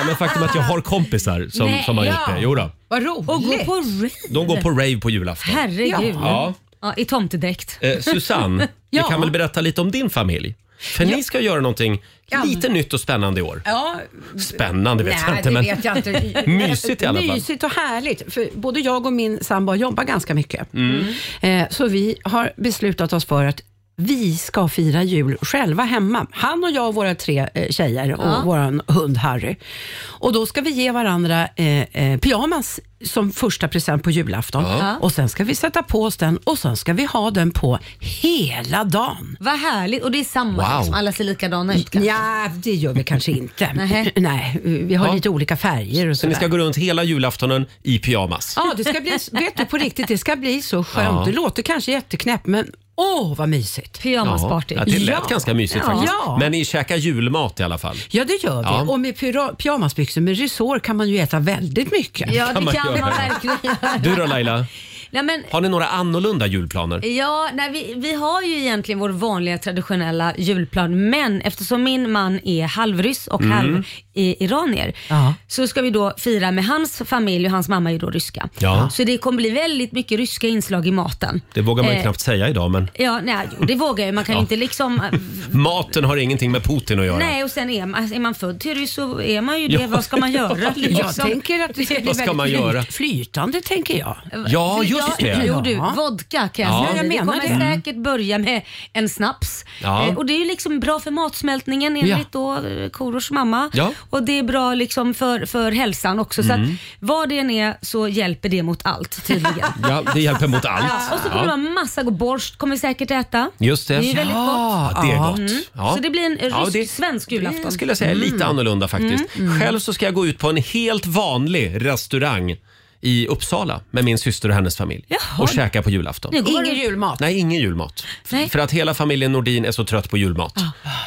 men faktum är att jag har kompisar som,
Nej,
som har gjort
ja.
det. Jo då.
Vad roligt. Och gå på rave.
De går på rave på julafton.
Herregud.
Ja.
Ja. I tomtedräkt.
Eh, Susanne,
Ja.
vi kan väl berätta lite om din familj? För ni ska göra någonting
Ja.
lite nytt och spännande i år.
Ja,
Spännande vet jag
nej,
inte,
det
men
vet jag inte.
mysigt i alla fall.
Mysigt och härligt. För både jag och min sambo jobbar ganska mycket.
Mm.
Eh, Så vi har beslutat oss för att vi ska fira jul själva hemma. Han och jag och våra tre eh, tjejer och
Ja.
vår hund Harry. Och då ska vi ge varandra eh, eh, pyjamas som första present på julafton.
Ja.
Och sen ska vi sätta på oss den och sen ska vi ha den på hela dagen.
Vad härligt. Och det är samma,
Wow.
liksom. alla ser likadana ut kanske.
Ja, det gör vi kanske inte.
Nej.
Nej, vi har
Ja.
lite olika färger och
Så ni ska
sådär.
gå runt hela julaftonen i pyjamas.
Ja, det ska bli, vet du på riktigt, det ska bli så skönt.
Ja.
Det låter kanske jätteknäppt, men åh vad mysigt.
Pyjamasparty. Ja, det lät ganska mysigt
ja.
faktiskt.
Ja.
Men ni käkar julmat i alla fall.
ja, det gör vi.
Ja.
Och med pyra- pyjamasbyxor med resår kan man ju äta väldigt mycket.
Ja,
Kan man
det kan man
göra.
verkligen göra.
Du då Laila?
Nej, men
Har ni några annorlunda julplaner?
Ja, nej, vi, vi har ju egentligen vår vanliga traditionella julplan men eftersom min man är halvryss och
Mm.
halv i, iranier
Ja.
så ska vi då fira med hans familj och hans mamma är ju då ryska.
Ja.
Så det kommer bli väldigt mycket ryska inslag i maten.
Det vågar man ju
Eh,
knappt säga idag men
Ja, nej, jo, det vågar jag ju. Man kan ju
Ja.
inte liksom...
maten har ingenting med Putin att göra.
Nej, och sen är man, är man född till ryss så är man ju det.
Ja.
Vad ska man göra?
Jag
liksom.
tänker att det ska bli
Vad ska
väldigt
man göra?
flyt- flytande, tänker jag.
Ja, just det.
Jo du,
Ja.
vodka kan jag
Ja.
säga.
Jag
Vi
menar
kommer
det. Mm.
säkert börja med en snaps.
Ja.
Eh, och det är ju liksom bra för matsmältningen enligt då eh, Korosh mamma.
Ja.
Och det är bra liksom för, för hälsan också. Så
Mm.
att vad det än är så hjälper det mot allt tydligen.
Ja, det hjälper mot allt.
Ja, och så kommer det
Ja.
vara massa god borst kommer vi säkert äta.
Just det.
Det är ju väldigt
Ja,
gott. Mm.
det är gott. Ja.
Så det blir en rysk,
Ja, det-
svensk
Det
julafton.
skulle jag säga är lite annorlunda faktiskt.
Mm. Mm.
Själv så ska jag gå ut på en helt vanlig restaurang i Uppsala med min syster och hennes familj och käka på julafton.
Ingen julmat.
Nej, ingen julmat. F-
Nej.
För att hela familjen Nordin är så trött på julmat.
Ah.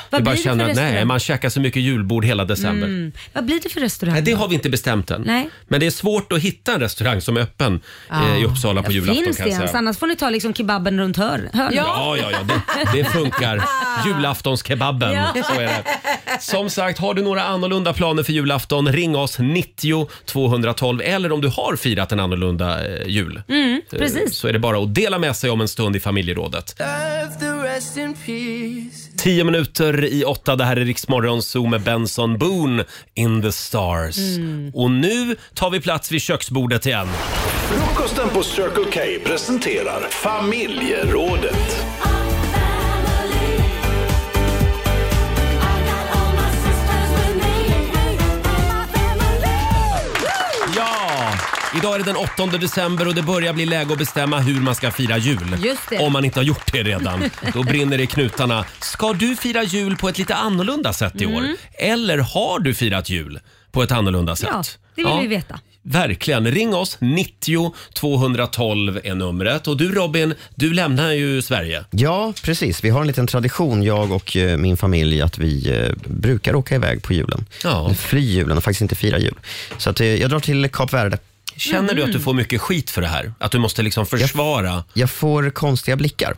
Vad
Vi bara
blir det för
känner att nej,
restaurang?
man käkar så mycket julbord hela december.
Mm. Vad blir det för restaurang?
Nej, det har vi inte bestämt än.
Nej. Ah.
Men det är svårt att hitta en restaurang som är öppen eh, i Uppsala på julafton
Finns
kan
det
jag
ens?
säga.
Annars får ni ta liksom kebaben runt hör- hörnet.
Ja, ja, ja, det, det funkar. Julaftonskebabben,
Ja.
så är det. Som sagt, har du några annorlunda planer för julafton, ring oss 90 212 eller om du har firat en annorlunda eh, jul.
Mm,
eh,
precis.
Så är det bara att dela med sig om en stund i familjerådet.
Love the rest in peace.
Tio minuter i åtta, det här är Riksmorgon Zoo med Benson Boone, In the Stars.
Mm.
Och nu tar vi plats vid köksbordet igen.
Frukosten på Circle K presenterar familjerådet.
Ja! Idag är det den 8 december och det börjar bli läge att bestämma hur man ska fira jul.
Just det.
Om man inte har gjort det redan. Då brinner det i knutarna. Ska du fira jul på ett lite annorlunda sätt i år?
Mm.
Eller har du firat jul på ett annorlunda sätt?
Ja, det vill vi veta.
Verkligen. Ring oss. 90 212 är numret. Och du Robin, du lämnar ju Sverige.
Ja, precis. Vi har en liten tradition, jag och eh, min familj, att vi eh, brukar åka iväg på julen. Fly julen och faktiskt inte fira jul. Så att, eh, jag drar till Kap Verde.
Känner du att
Mm.
du får mycket skit för det här? Att du måste liksom försvara? Jag,
får konstiga blickar.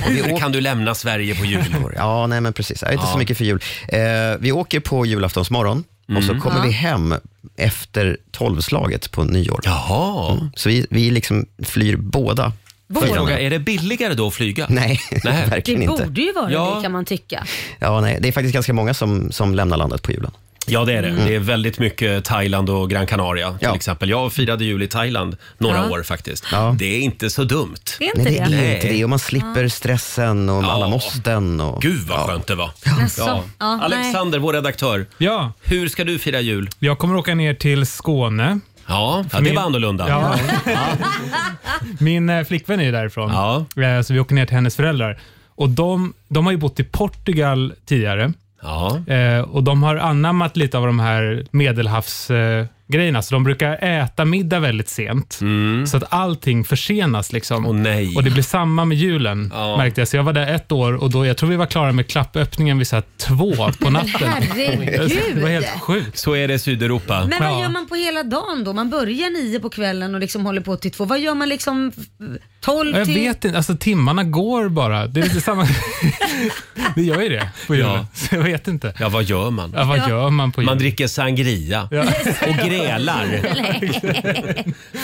Hur kan du lämna Sverige på jul?
Ja, nej men precis. Jag är inte
Ja.
så mycket för jul. Eh, vi åker på julaftonsmorgon och så
Mm.
kommer
Ja.
vi hem efter tolvslaget på nyår.
Jaha.
Så vi, vi liksom flyr båda.
Båda?
Fyra
dagar. är det billigare då att flyga?
Nej, verkligen
det
inte.
borde ju vara
Ja.
det kan man tycka.
Ja, nej, det är faktiskt ganska många som, som lämnar landet på julen.
Ja, det är det.
Mm.
Det är väldigt mycket Thailand och Gran Canaria till exempel. Jag firade jul i Thailand några
Ja.
år faktiskt. Det är inte så dumt.
Det är inte
Nej, det är
det.
inte det. Och man slipper stressen och alla måsten. Och...
Gud vad skönt det var.
Jaså? Ja, nej.
Alexander, vår redaktör.
Ja.
Hur ska du fira jul?
Jag kommer åka ner till Skåne.
Ja, ja det
Min-
var annorlunda.
Ja. Min eh, flickvän är ju därifrån, Eh, så vi åker ner till hennes föräldrar. Och de, de har ju bott i Portugal tidigare Eh, och de har anammat lite av de här medelhavsgrejerna, så de brukar äta middag väldigt sent, så att allting försenas. Liksom. Och det blir samma med julen, märkte jag. Så jag var där ett år och då, jag tror vi var klara med klappöppningen vid så här två på
Men
natten.
herregud!
det var helt sjukt.
Så är det i Sydeuropa.
Men vad gör man på hela dagen då? Man börjar nio på kvällen och liksom håller på till två. Vad gör man liksom f- tolv
Ja, Jag
till...
vet inte, alltså timmarna går bara. Det är lite samma... det gör ju det på julen.
Ja.
Så jag vet inte.
Ja, vad gör man?
Ja, vad gör man på jul?
Man dricker sangria och grälar.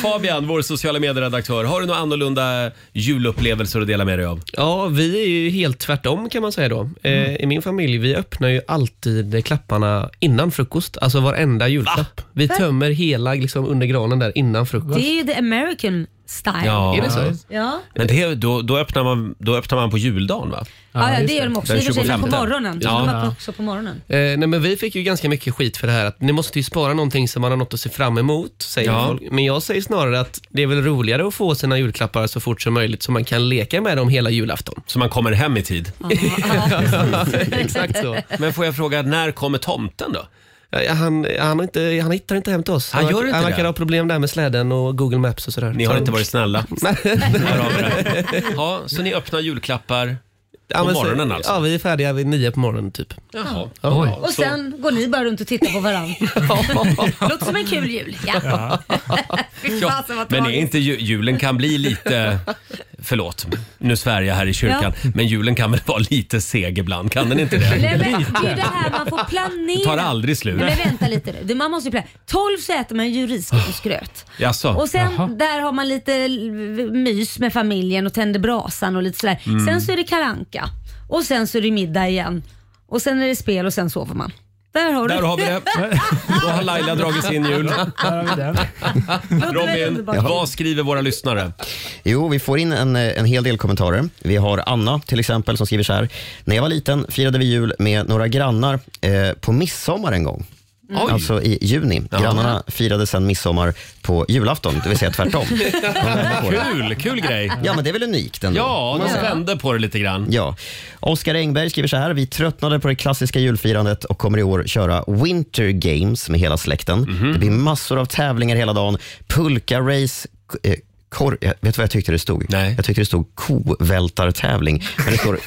Fabian, vår sociala medieredaktör, har du några annorlunda julupplevelser att dela med dig av?
Ja, vi är ju helt tvärtom kan man säga då. Eh, I min familj, vi öppnar ju alltid klapparna innan frukost. Alltså varenda julklapp. Vi
Va?
tömmer hela liksom, under granen där innan frukost.
Det är ju the American style.
Ja. Är det så?
Ja.
Men det, då, då, öppnar man, då öppnar man på juldagen va?
Ja, ja, det gör de också. I
Den
och för sig, men
25.
på morgonen.
Ja.
Ja. De har också på morgonen.
Eh, nej, men vi fick ju ganska mycket skit för det här att ni måste ju spara någonting som man har något att se fram emot, säger
Ja.
folk. Men jag säger snarare att det är väl roligare att få sina julklappar så fort som möjligt så man kan leka med dem hela julafton.
Så man kommer hem i tid.
Exakt så.
Men får jag fråga, när kommer tomten då?
Ja, Han, han, har inte, han hittar inte hem till oss.
Han gör inte
han
det?
verkar ha problem där med släden och Google Maps och sådär.
Ni har
Så-
inte varit snälla. Här har vi det. Ja, så ni öppnar julklappar
Ja,
på
men så-
morgonen alltså?
Ja, vi är färdiga vid nio på morgonen typ.
Jaha.
Ja.
Och sen går ni bara runt och tittar på varandra. Låter som en kul jul. Ja. Fy
Ja,
fasen Alltså, vad
Men är
tragiskt.
inte ju, julen kan bli lite... Förlåt, nu svär jag här i kyrkan. Men julen kan väl vara lite seg ibland? Kan den inte
Nej, men, det
det?
är ju det här man får planera.
Det tar aldrig slut.
Nej, Men vänta lite nu. Det- Man måste ju planera. 12 så äter man ju risgröt och skröt.
Jaså?
Och sen
Jaha.
där har man lite l- mys med familjen och tänder brasan och lite sådär.
Mm.
Sen så är det karanka och sen så är det middag igen. Och sen är det spel och sen sover man. Där har du
Där har vi det. Då har Laila dragit sin jul. Robin,
underbart.
vad skriver våra lyssnare?
Jo, vi får in en, eh, en hel del kommentarer. Vi har Anna till exempel som skriver så här. När jag var liten firade vi jul med några grannar eh, på midsommar en gång.
Mm. Oj.
Alltså i juni. Grannarna firade sen midsommar på julafton, det vill säga tvärtom.
Kul, kul grej.
Ja, men det är väl unikt ändå.
Ja, de vände på det lite grann.
Ja. Oskar Engberg skriver så här. Vi tröttnade på det klassiska julfirandet och kommer i år köra Winter Games med hela släkten.
Mhm.
Det blir massor av tävlingar hela dagen. Pulka-race, k- eh, Kor, jag vet du vad jag tyckte det stod? Nej. Jag tyckte det stod kovältartävling. Men det står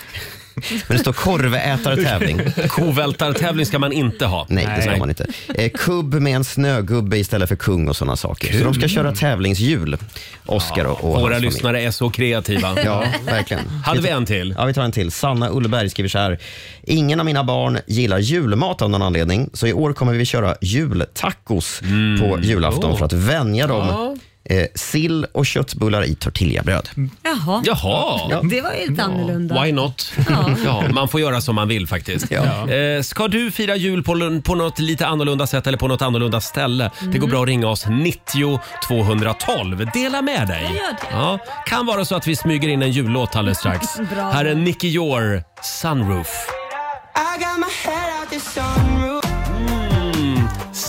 Men det står korvätartävling.
Kovältartävling ska man inte ha.
Nej, det ska
Nej.
man inte. Eh, kubb med en snögubbe istället för kung och sådana saker. Så de ska köra tävlingshjul, Oscar och, och
Våra
hans familj.
lyssnare är så kreativa.
Ja, verkligen.
Hade vi en till?
Ja, vi tar en till. Sanna Ullberg skriver så här. Ingen av mina barn gillar julmat av någon anledning, så i år kommer vi köra jultacos på julafton
Oh.
för att vänja dem.
Ja.
Eh, sill och köttbullar i tortillabröd.
Jaha.
Jaha. Ja.
Det var ju lite annorlunda.
Why not?
Ja.
Ja, man får göra som man vill faktiskt.
Ja.
Eh, ska du fira jul på, lun- på något lite annorlunda sätt eller på något annorlunda ställe? Det
Mm.
går bra att ringa oss 90 212. Dela med dig.
Jag gör det.
Ja, kan vara så att vi smyger in en jullåt alldeles strax.
Bra.
Här är Nicky Jor, Sunroof.
I got my head out the sunroof.
Mm.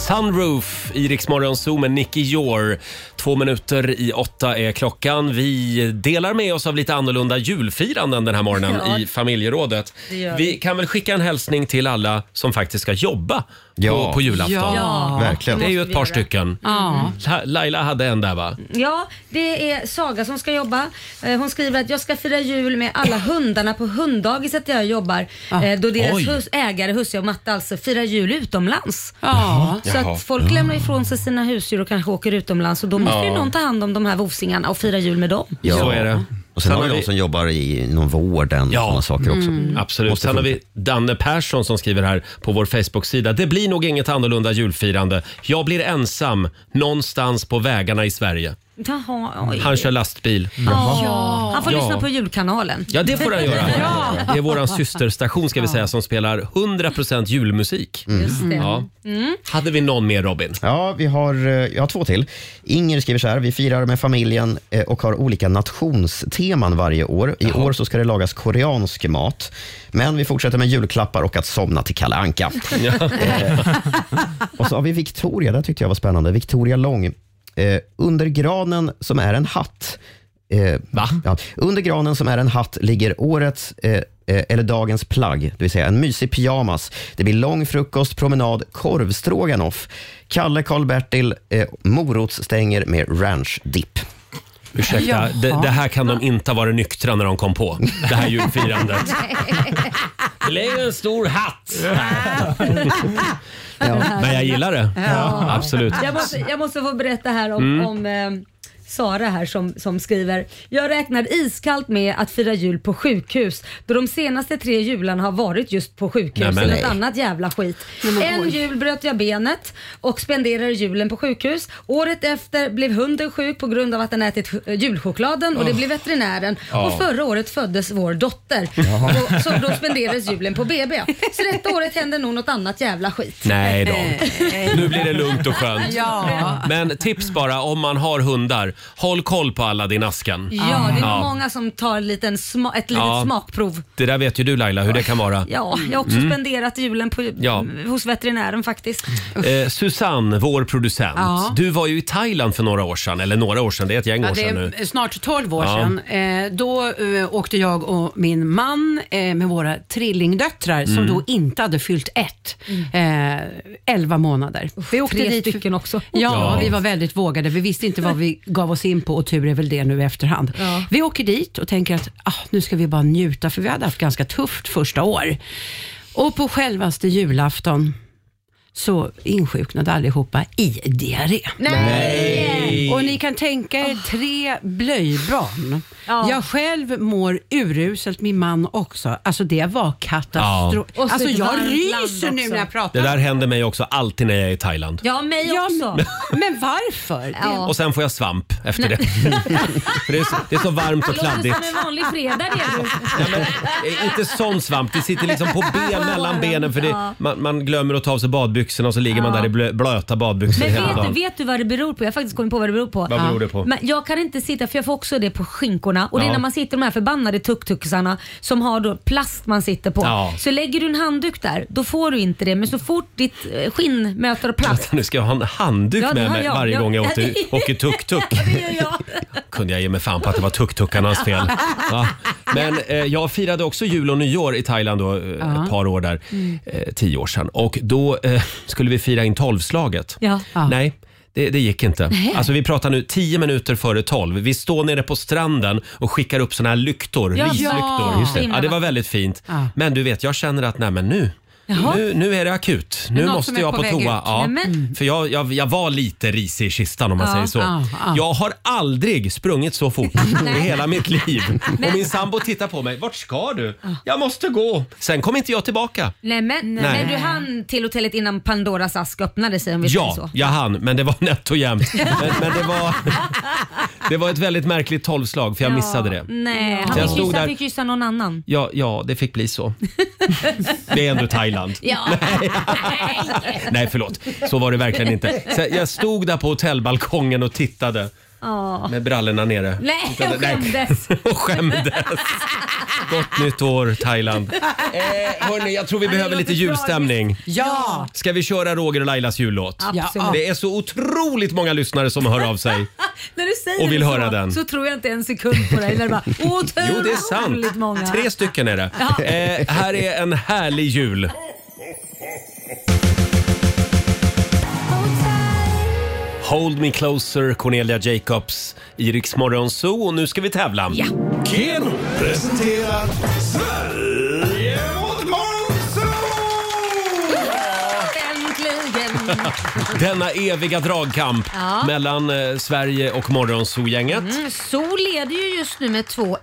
Sunroof i Rix Morgon Zoo med Nicky Jor. Två minuter i åtta är klockan. Vi delar med oss av lite annorlunda julfiranden den här morgonen
Ja.
i familjerådet.
Det gör vi.
Vi kan väl skicka en hälsning till alla som faktiskt ska jobba på, på julafton.
Ja. Verkligen.
Det är ju
Måste
ett
vi
par
göra.
stycken.
Ja.
La- Laila hade en där va?
Ja, det är Saga som ska jobba. Eh, Hon skriver att jag ska fira jul med alla hundarna på hunddagiset där jag jobbar.
Ah.
eh, Då deras
Oj.
hus, ägare, husse och matte alltså firar jul utomlands.
Ja.
Så
Jaha.
att folk lämnar ifrån sig sina husdjur och kanske åker utomlands och då måste ju
Ja.
någon ta hand om de här vovsingarna och fira jul med dem.
Ja.
Så är det.
Och sen
Sen
har vi
har
de som jobbar i någon vården och sådana saker också.
Mm. Absolut.
Måste
Sen har
funka.
vi Danne Persson som skriver här på vår Facebook-sida. Det blir nog inget annorlunda julfirande. Jag blir ensam någonstans på vägarna i Sverige.
Jaha, oj.
Han kör lastbil.
Ja. Han får
Ja.
lyssna på julkanalen.
Ja, det får han göra.
Ja.
Det är vår systerstation ska vi säga som spelar 100% julmusik.
Just det.
Ja.
Mm.
Hade vi någon mer Robin?
Ja, vi har, eh, jag har två till. Inger skriver så här, vi firar med familjen eh, och har olika nationsteman varje år. I år så ska det lagas koreansk mat, men vi fortsätter med julklappar och att somna till Kalle Anka. Eh, och så har vi Victoria, det tyckte jag var spännande. Victoria Lång. Eh, under granen som är en hatt Eh, Ja, under granen som är en hatt ligger årets eh, eh, eller dagens plagg, det vill säga en mysig pyjamas. Det blir lång frukost, promenad, korvstroganoff, Kalle Karl-Bertil, eh, morotsstänger med ranchdipp.
Ursäkta, det, det här kan de inte ha varit nyktra när de kom på. Det här julfirandet. Det ligger en stor hatt. Men jag gillar det.
Ja.
Absolut.
Jag måste, jag måste få berätta här om,
Mm.
om eh, Sara här som, som skriver. Jag räknar iskallt med att fira jul på sjukhus då de senaste tre jularna har varit just på sjukhus
Nej, men
eller något
nej.
annat jävla skit. en jul bröt jag benet och spenderade julen på sjukhus. Året efter blev hunden sjuk på grund av att den ätit ch- eh, julchokladen och det
Oh.
blev veterinären.
Ja.
Och förra året föddes vår dotter.
Ah. Jaha.
Och, så då spenderades julen på BB. Så detta året hände nog något annat jävla skit.
Nej då. Nu blir det lugnt och skönt.
Ja.
Men tips bara om man har hundar. Håll koll på alla din askan.
Ja, det är nog många som tar en liten sma- ett litet
Ja.
smakprov.
Det där vet ju du Laila hur det kan vara.
Ja, jag har också
Mm.
spenderat julen på,
Ja.
hos veterinären faktiskt.
Eh, Susanne, vår producent.
Ja.
Du var ju i Thailand för några år sedan. Eller några år sedan, det är ett gäng
Ja,
år
det
sedan nu.
är snart 12 år
Ja.
sedan. Eh, då eh, åkte jag och min man eh, med våra trillingdöttrar som
Mm.
då inte hade fyllt ett. Eh, 11 månader. vi åkte
Mm. tre
dit
stycken också.
Ja,
Ja.
vi var väldigt vågade. Vi visste inte vad vi gav oss in på och tur är väl det nu i efterhand.
Ja.
Vi åker dit och tänker att ah, nu ska vi bara njuta för vi hade haft ganska tufft första år. Och på självaste julafton så insjuknade allihopa i diarré.
Nej.
Och ni kan tänka er tre blöjbarn. Jag själv mår uruselt, min man också. Alltså det var katastrof.
Ja. Och så
Alltså
ett
jag
varmt
ryser nu när jag pratar.
Det där händer mig också alltid när jag är i Thailand.
Ja, mig också.
Men, men varför?
Ja.
Och sen får jag svamp efter det. För det, är så, det är så varmt och kladdigt.
Låter som en vanlig fredag det
Ja, men, eh, inte sån svamp, det sitter liksom på ben, mellan benen för det,
Ja.
man, man glömmer att ta av sig badbyxorna och så ligger man
Ja.
där i blö, blöta badbyxor
Men
hela
vet
dagen.
du, vet du vad det beror på? Jag har faktiskt kommit på vad det beror på.
Vad beror det på?
Men jag kan inte sitta, för jag får också det på skinkorna. Och det
Ja.
är när man sitter i de här förbannade tuk-tuksarna som har då plast man sitter på.
Ja.
Så lägger du en handduk där, då får du inte det. Men så fort ditt eh, skinn möter plast.
Vänta, nu ska jag ha en handduk
Ja, det
med
har
mig
jag.
varje
Ja.
gång jag åker, åker tuk-tuk. Kunde jag ge mig fan på att det var tuk-tukarnas fel. Ja. Men eh, jag firade också jul och nyår i Thailand då, eh,
Ja.
ett par år
Mm.
där, eh, tio år sedan. Och då eh, skulle vi fira in tolvslaget.
Ja.
Nej, Det, det gick inte.
Nej.
Alltså vi pratar nu tio minuter före tolv. Vi står nere på stranden och skickar upp såna här lyktor,
Ja,
rislyktor.
ja. Just det.
Ja, det var väldigt fint.
Ja.
Men du vet, jag känner att nej men nu,
Jaha.
nu, nu är det akut. Nu
något som
måste
är
jag
på
på,
väg ut.
toa. Ja.
Nämen.
För jag, jag, jag var lite risig i kistan om man
Ja.
säger så.
Ja, ja.
Jag har aldrig sprungit så fort i
Nej.
hela mitt liv.
Men- Ah.
Och min sambo tittar på mig. Vart ska du? Jag måste gå. Sen kom inte jag tillbaka.
Nej men,
Nej.
men du hann till hotellet innan Pandoras ask öppnade sig om vi säger
Ja,
så.
jag hann, men det var nätt och jämnt. Men, men det, var, det var ett väldigt märkligt tolvslag för jag missade det.
Nej,
Så
han
jag
fick
stod
kyssa,
där-
fick kyssa någon annan.
Ja, ja, det fick bli så. Det är ändå Thailand.
Ja.
Nej, förlåt. Så var det verkligen inte. Så jag stod där på hotellbalkongen och tittade
Åh.
med brallorna nere.
Nej,
Tittade-
jag skämdes.
och skämdes. Gott nytt år, Thailand. Eh, hörni, jag tror vi behöver lite julstämning.
Ja!
Ska vi köra Roger och Lailas jullåt?
Absolut.
Det är så otroligt många lyssnare som hör av sig.
När du säger
Och vill
det
höra
så,
den.
så tror jag inte en sekund på dig. När du bara, otroligt
Jo, det är sant.
många.
Tre stycken är det.
Ja.
Eh, här är en härlig jul. Hold me closer, Cornelia Jacobs i Rix Morgon Zoo. Och nu ska vi tävla. Ja.
Keno presenterar Sverige mot
Äntligen!
Denna eviga dragkamp
Ja.
mellan eh, Sverige och Morgonzoo-gänget.
Mm, Sol leder ju just nu med 2-1.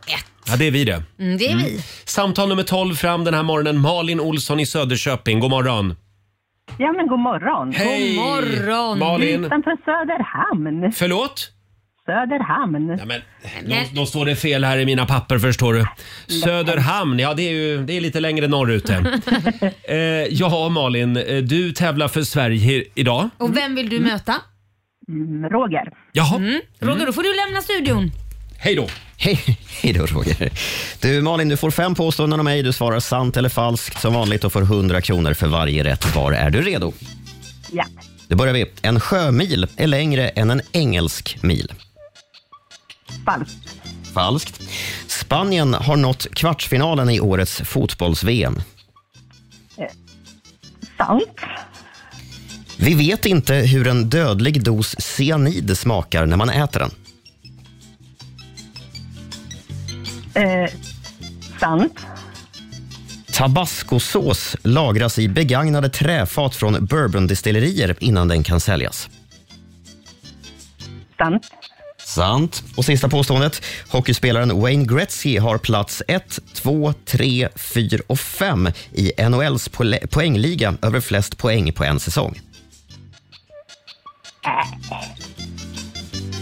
Ja, det är vi det.
Mm, det är vi.
Samtal nummer 12 fram den här morgonen. Malin Olsson i Söderköping, god morgon.
Ja, men god morgon.
Hej! God morgon. Malin.
Mm.
Utanför Söderhamn.
Förlåt?
Söderhamn.
Ja, men, Då, då står det fel här i mina papper förstår du. Söderhamn, ja det är ju det är lite längre norrut det. eh, Ja Malin, eh, du tävlar för Sverige i- idag.
Och vem vill du
Mm.
möta?
Roger.
Jaha.
Roger, då får du lämna studion.
Hej då.
Hej, hej då Roger. Du Malin, du får fem påståenden av mig. Du svarar sant eller falskt som vanligt och får 100 kronor för varje rätt var. Är du redo?
Ja.
Då börjar vi. En sjömil är längre än en engelsk mil.
Falskt.
Falskt. Spanien har nått kvartsfinalen i årets fotbolls-VM.
Sant.
Vi vet inte hur en dödlig dos cyanid smakar när man äter den.
Eh, sant.
Tabascosås lagras i begagnade träfat från bourbondistillerier innan den kan säljas.
Sant.
Sant. Och sista påståendet. Hockeyspelaren Wayne Gretzky har plats 1, 2, 3, 4 och 5 i NHLs pole- poängliga över flest poäng på en säsong.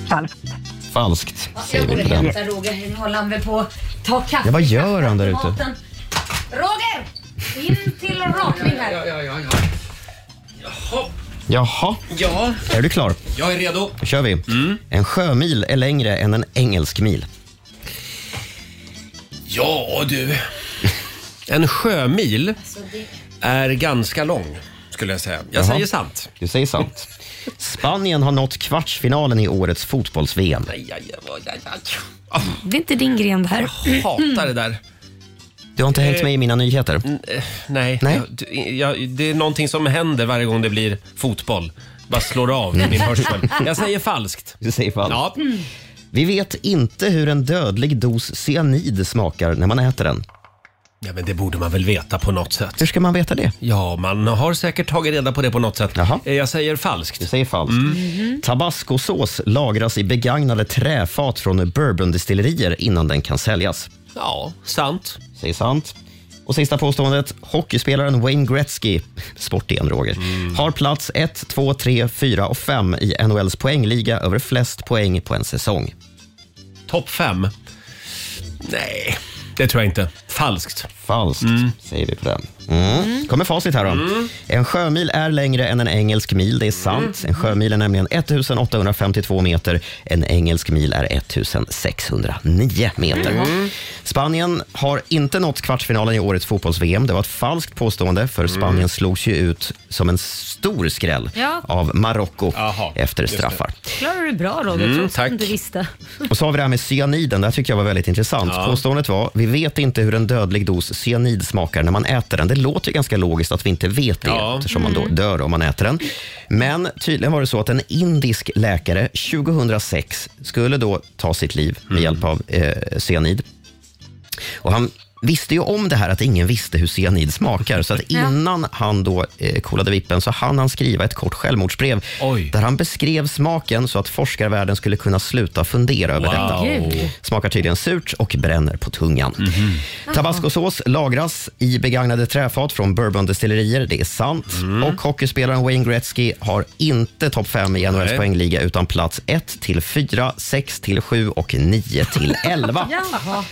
Falskt.
Falskt,
Jag
säger
borde
vi på den.
hämta Roger. Nu håller han väl på att ta kaffe.
Ja, vad gör han där ute?
Maten. Roger! In till rakning här.
Jaha.
Ja.
Är du klar?
Jag är redo.
Då kör vi. En sjömil är längre än en engelsk mil.
Ja du. En sjömil är ganska lång skulle jag säga. Jag
Jaha.
säger sant.
Du säger sant. Spanien har nått kvartsfinalen i årets fotbolls-VM.
Det är inte din gren det här.
Jag Ah, hatar det där.
Du har inte hängt
Eh,
med i mina nyheter?
Nej,
Nej.
Jag, du- jag, det är någonting som händer varje gång det blir fotboll. Bara slår av min hörsel. Jag säger falskt.
Du säger falskt.
Ja.
Vi vet inte hur en dödlig dos cyanid smakar när man äter den.
Ja, men det borde man väl veta på något sätt.
Hur ska man veta det?
Ja, man har säkert tagit reda på det på något sätt. Eh, Jag säger falskt.
Du säger falskt.
Mhm.
Tabascosås lagras i begagnade träfat från bourbondistillerier innan den kan säljas.
Ja, sant.
Säger sant. Och sista påståendet. Hockeyspelaren Wayne Gretzky, sport igen Roger, har plats 1, 2, 3, 4 och 5 i NHLs poängliga över flest poäng på en säsong.
Topp fem? Nej, det tror jag inte. Falskt.
Falskt, säger vi på den. Mm. kommer facit här då.
Mm.
En sjömil är längre än en engelsk mil, det är sant. En sjömil är nämligen 1852 meter. En engelsk mil är 1609 meter.
Mm.
Spanien har inte nått kvartsfinalen i årets fotbolls-VM. Det var ett falskt påstående, för
Mm.
Spanien slogs ju ut som en stor skräll
Ja.
av Marocko efter
just det.
straffar.
Klarar du bra Roger,
Mm,
trots att
tack.
du inte visste.
Och så har vi det här med cyaniden. Det här tycker jag var väldigt intressant.
Ja.
Påståendet var, vi vet inte hur en dödlig dos cyanid smakar när man äter den. Det låter ju ganska logiskt att vi inte vet det eftersom man då dör om man äter den. Men tydligen var det så att en indisk läkare 2006 skulle då ta sitt liv med hjälp av eh, cyanid. Och han visste ju om det här att ingen visste hur cyanid smakar. Så att innan han då eh, kollade vippen så hann han skriva ett kort självmordsbrev där han beskrev smaken så att forskarvärlden skulle kunna sluta fundera över
Wow.
detta.
Gud.
Smakar tydligen surt och bränner på tungan. Tabascosås lagras i begagnade träfat från bourbondestillerier. Det är sant.
Mhm.
Och hockeyspelaren Wayne Gretzky har inte topp fem i NHLs
Nej.
poängliga utan plats 1 till 4, 6 till 7 och 9 till 11.
Jaha.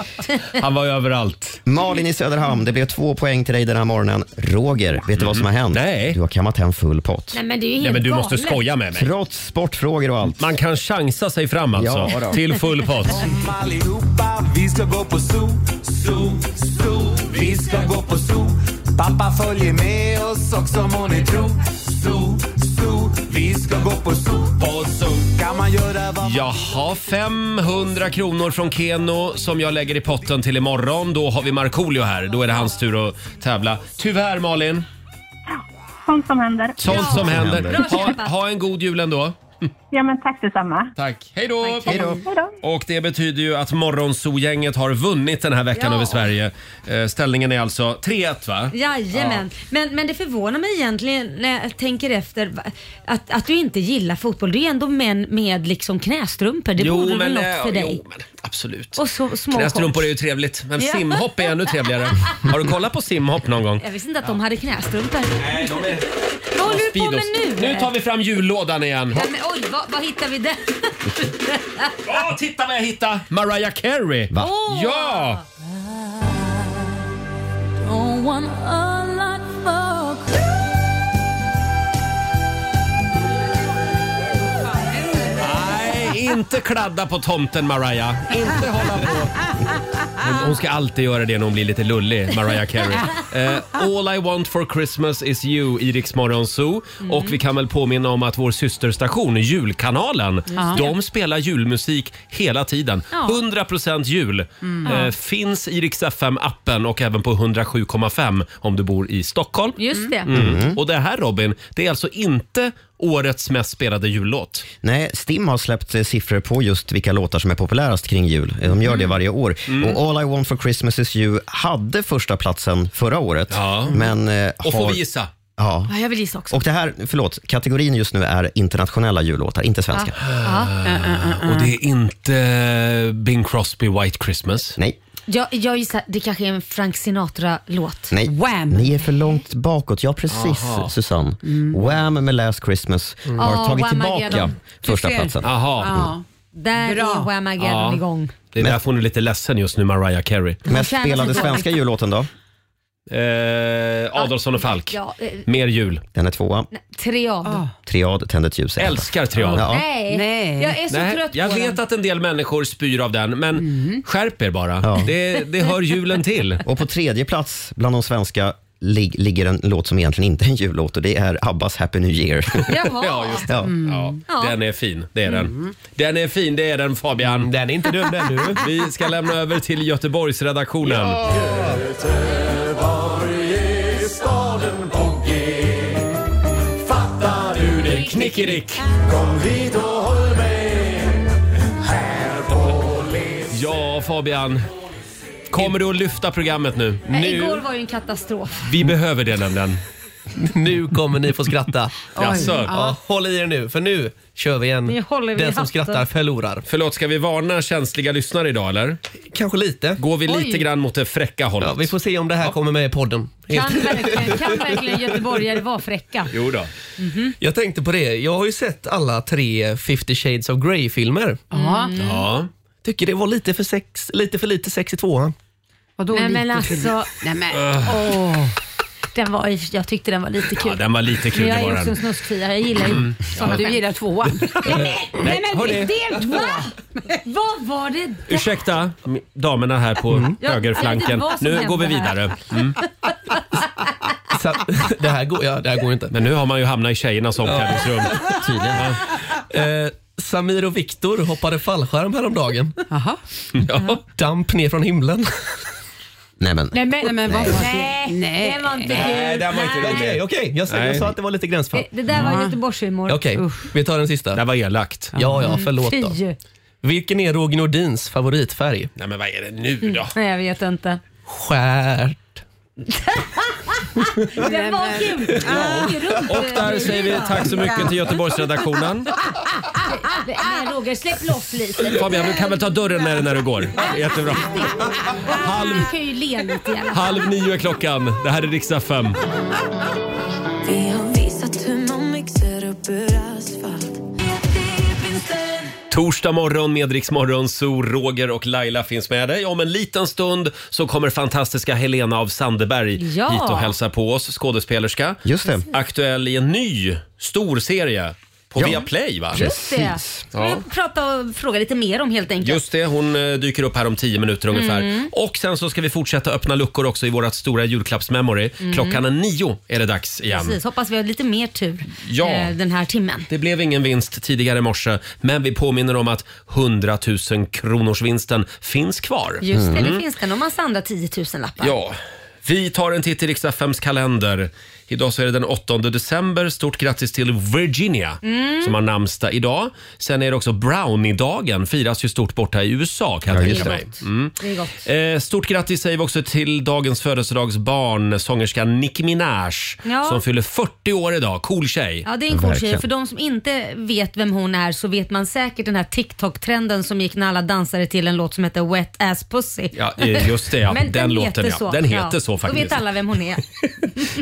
Han var ju överallt. Malin i Söderhamn, det blev två poäng till dig den här morgonen. Roger, vet du vad som har
Mm.
hänt? Nej. Du har kammat hem full pott.
Nej, men det är ju helt
Nej, men du måste
galet.
skoja med mig.
Trots sportfrågor och allt.
Man kan chansa sig fram alltså.
Ja, då.
till full pott.
Kom allihopa, vi ska gå på zoo, zoo, zoo. Vi ska gå på zoo. Pappa följer med oss också om hon är tro. Zoo, zoo. Vi ska gå på zoo, på zoo. Kan man göra vad
Jaha, 500 kronor från Keno som jag lägger i potten till imorgon. Då har vi Markoolio här. Då är det hans tur att tävla. Tyvärr Malin,
Sånt som händer.
sånt som händer.
Bra
Ha,
kämpat.
ha en god jul ändå.
Ja, men tack detsamma.
Tack. Hej då! Och det betyder ju att Morgonzoo-gänget har vunnit den här veckan
Ja.
över Sverige. Eh, Ställningen är alltså 3-1 va?
Jajamän. Men, men det förvånar mig egentligen när jag tänker efter va- att, att du inte gillar fotboll. Det är ju ändå män med liksom knästrumpor. Det
Jo,
borde
men,
väl något
eh,
för
jo,
dig?
men absolut.
Och så små
Knästrumpor
shorts.
är ju trevligt, men
Ja.
simhopp är ännu trevligare. Har du kollat på simhopp någon gång?
Jag visste inte att de hade knästrumpor.
Nej, de är...
Vad håller du på med nu?
Nu tar vi fram jullådan igen.
Nej, men, oj, vad, vad hittar vi där?
Åh, titta vad jag hittade! Mariah Carey!
Va? Åh!
Ja!
Don't
Oh,
want a lot for
Nej, inte kladda på tomten Mariah. Inte hålla på. Hon, hon ska alltid göra det när hon blir lite lullig, Mariah Carey. Eh, All I want for Christmas is you i Rix Morgon Zoo.
Mm.
Och vi kan väl påminna om att vår systerstation Julkanalen,
det.
de spelar julmusik hela tiden.
Ja.
100% jul.
Mm.
Eh,
Ja.
finns i Rix FM-appen och även på 107,5 om du bor i Stockholm.
Just det.
Mm. Och det här Robin, det är alltså inte årets mest spelade jullåt.
Nej, Stim har släppt eh, siffror på just vilka låtar som är populärast kring jul. Eh, De gör
Mm.
det varje år. Och All I want for Christmas is you hade första platsen förra året. Men, eh,
Och får
har-
vi gissa?
Ja.
Ja, jag vill gissa också.
Och det här, förlåt, kategorin just nu är internationella jullåtar, inte svenska.
Ah.
Ja.
Och
Ah.
det är inte Bing Crosby White Christmas.
Nej.
Jag, jag gissar, det kanske är en Frank Sinatra-låt.
Nej.
Wham!
Ni är för långt bakåt. Ja, precis
Aha.
Susanne.
Mm.
Wham med Last Christmas har
Ja,
tagit
Whamageddon.
tillbaka
Du
första
ser.
platsen.
Ja. Där är Whamageddon
Ja.
igång.
Det är därför hon är lite ledsen just nu, Mariah Carey.
Hon Mest tjänar sig spelade dåligt. svenska
jullåten då?
Eh, Adolfsson och Falk.
Ja, eh,
Mer jul.
Den är tvåa.
Triad.
Triad, Tänd ett ljus.
Älskar triad.
Ja.
Nej. jag är så
Ah. Nej,
trött
jag
på
vet
den. Mm.
att en del människor spyr av den, men skärp er bara. Det, det hör julen till.
Och på tredje plats bland de svenska lig- ligger en låt som egentligen inte är en jullåt och det är Abbas Happy New Year.
Jaha.
Ja, just det.
Ja.
Mm.
Ja, den är fin. Det är den. Den är fin, det är den Fabian. Den är inte dum den du. Vi ska lämna över till Göteborgsredaktionen.
Göteborg är staden på G Fattar du det knickedick? Kom hit och håll med här på Leseberg
Ja, Fabian. Kommer du att lyfta programmet nu?
Nej, Igår var ju en katastrof.
Vi behöver det nämligen.
Nu kommer ni få skratta.
Oj.
Jaså?
Ja.
ja, håll i er nu, för nu kör vi igen.
Nu håller vi
Den som
hatten.
skrattar förlorar.
Förlåt, ska vi varna känsliga lyssnare idag eller?
Kanske lite.
Går vi
Oj.
lite grann mot det fräcka hållet?
Ja, vi får se om det här kommer med i podden.
Kan verkligen, kan verkligen göteborgare vara fräcka?
Jo då.
Mhm.
Jag tänkte på det. Jag har ju sett alla tre 50 shades of Grey-filmer.
Ja. Mm.
Ja.
Tycker det var lite för, sex, lite för lite sex i tvåan.
Vadå
Nej
lite
men
för-
alltså.
Nej, men.
Åh. Den var, i- jag tyckte den var lite kul.
Ah. Ja, den var lite kul,
Men jag
det
är
var
också
den.
en snuskfia. Jag gillar ju
Mm.
sådana
Ja.
skämt.
Du gillar
tvåan. Nej men, nej, men
hörni.
del två! Vad var det där?
Ursäkta m- damerna här
Mm.
på
Ja, jag vet
högerflanken.
inte vad som
Nu
hände
går vi
här.
vidare. Mm.
det, här går, ja, det här går inte.
Men nu har man ju hamnat i tjejernas omklädningsrum.
Tydligen. Eh, Samir och Viktor hoppade fallskärm häromdagen. Aha. Ja. Damp ner från himlen.
Nej men.
Nej men, nej, men vad var det?
Nej, det var inte kul.
Okej, okej. jag, sa- jag
Nej.
sa att det var lite gränsfall.
Det, det där var Göteborgshumor.
Okej, vi tar den sista. Det
var elakt.
Ja, ja,
Mm,
förlåt då.
Fy.
Vilken är Roger Nordins favoritfärg?
Nej, men vad är det nu då?
Nej, jag vet inte.
Skär.
Det var kul. Ja.
Och där säger vi tack så mycket till Göteborgsredaktionen.
Nej, Roger, släpp loss lite.
Fabian, du kan väl ta dörren med dig när du går. Jättebra.
Halv... Du kan ju le lite i alla fall.
Halv nio är klockan. Det här är riksdag 5.
Vi har visat hur man mixar upp ur asfalt.
Torsdag morgon med Rix Morgon, så Roger och Laila finns med dig. Om en liten stund så kommer fantastiska Helena av Sandeberg
Ja.
hit och hälsa på oss, skådespelerska. Just det. Aktuell i en ny stor serie på
Ja.
Viaplay va?
Just det. Ska
Ja.
vi prata och fråga lite mer om helt enkelt.
Just det, hon eh, dyker upp här om tio minuter ungefär.
Mm.
Och sen så ska vi fortsätta öppna luckor också i vårt stora julklappsmemory.
Mm.
Klockan är nio är det dags igen.
Precis, hoppas vi har lite mer tur
Ja.
eh, den här timmen.
Det blev ingen vinst tidigare i morse, men vi påminner om att 100 000 kronors vinsten finns kvar.
Just det,
Mm.
det finns det nog massa andra 10 000 lappar.
Ja, vi tar en titt i Riks-FMs kalender. Idag så är det den 8 december. Stort grattis till Virginia
Mm.
som har namnsdag idag. Sen är det också Brownie-dagen. Firas ju stort borta i USA kan jag
Ja,
tänka mig.
just
Mm.
Det är gott.
Eh, Stort grattis säger vi också till dagens födelsedagsbarn, sångerskan Nicki Minaj
Ja.
som fyller 40 år idag. Cool tjej.
Ja, det är en cool tjej. För de som inte vet vem hon är så vet man säkert den här TikTok-trenden som gick när alla dansade till en låt som heter Wet Ass Pussy.
Ja, eh, just det, ja. Den låten,
heter
ja. Den heter så
Då
faktiskt.
vet alla vem hon är.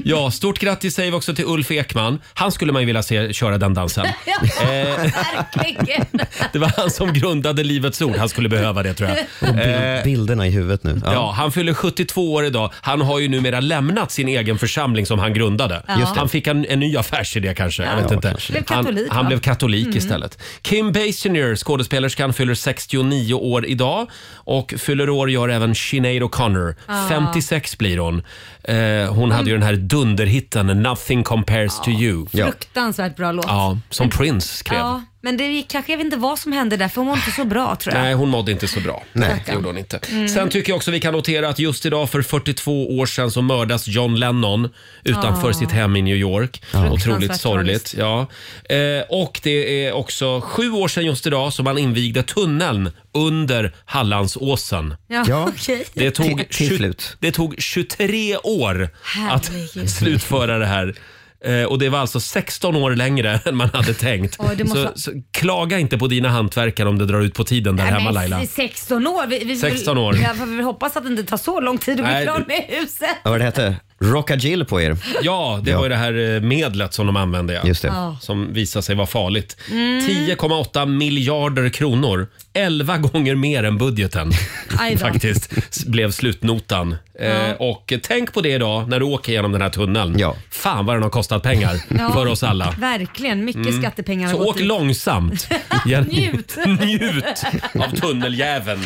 Ja, stort grattis säger vi också till Ulf Ekman. Han skulle man ju vilja se köra den dansen.
Ja,
Eh.
verkligen.
Det var han som grundade Livets Ord. Han skulle behöva det tror jag.
Mm.
Och bild,
Eh,
bilderna i huvudet nu.
Ja, han fyller 72 år idag. Han har ju numera lämnat sin egen församling som han grundade.
Ja. Just det.
Han fick en, en ny affärsidé kanske. Jag
Ja.
vet inte.
Blev
han,
katolik,
han
va?
blev katolik
Mm.
istället. Kim Basinger, skådespelerskan, fyller 69 år idag. Och fyller år gör även Sinead O'Connor.
Ja.
56 blir hon. Eh, hon hade ju den här dunderhitten “Nothing compares to you”. Ja.
Fruktansvärt bra låt.
som Prince skrev.
Ja, men det gick, kanske, jag vet inte vad som hände där för hon var inte så bra tror jag.
Nej, hon mådde inte så bra. Nej. Det gjorde hon inte.
Mm.
Sen tycker jag också vi kan notera att just idag för 42 år sedan så mördas John Lennon utanför
Ah.
sitt hem i New York. Otroligt
Fruktansvärt
sorgligt. Ja. Eh, och det är också sju år sedan just idag som man invigde tunneln under Hallandsåsen.
Ja, Ja. okej.
Det tog,
Till- till
tju-
slut.
det tog 23 år
Herregud.
att slutföra det här. Eh, Och Det var alltså 16 år längre än man hade tänkt.
Oj, det måste-
så, så klaga inte på dina hantverkare om det drar ut på tiden där
Nej,
hemma
men
Laila.
16 år. Vi, vi,
16 år.
Ja, för vi hoppas att det inte tar så lång tid att
Nej.
bli klar med huset.
Vad var det hette? Rockagill på er. Ja, det var ju det här eh, medlet som de använde. Ja. Just
det. Ja.
Som visade sig vara farligt.
Mm.
10,8 miljarder kronor. 11 gånger mer än budgeten.
Aj då.
faktiskt s- blev slutnotan. Eh, och tänk på det idag när du åker genom den här tunneln. Fan vad den har kostat pengar
Ja.
för oss alla.
Verkligen, mycket
Mm.
skattepengar har
Så
gått
åk
ut.
långsamt.
Njut.
Njut av tunnelgäveln.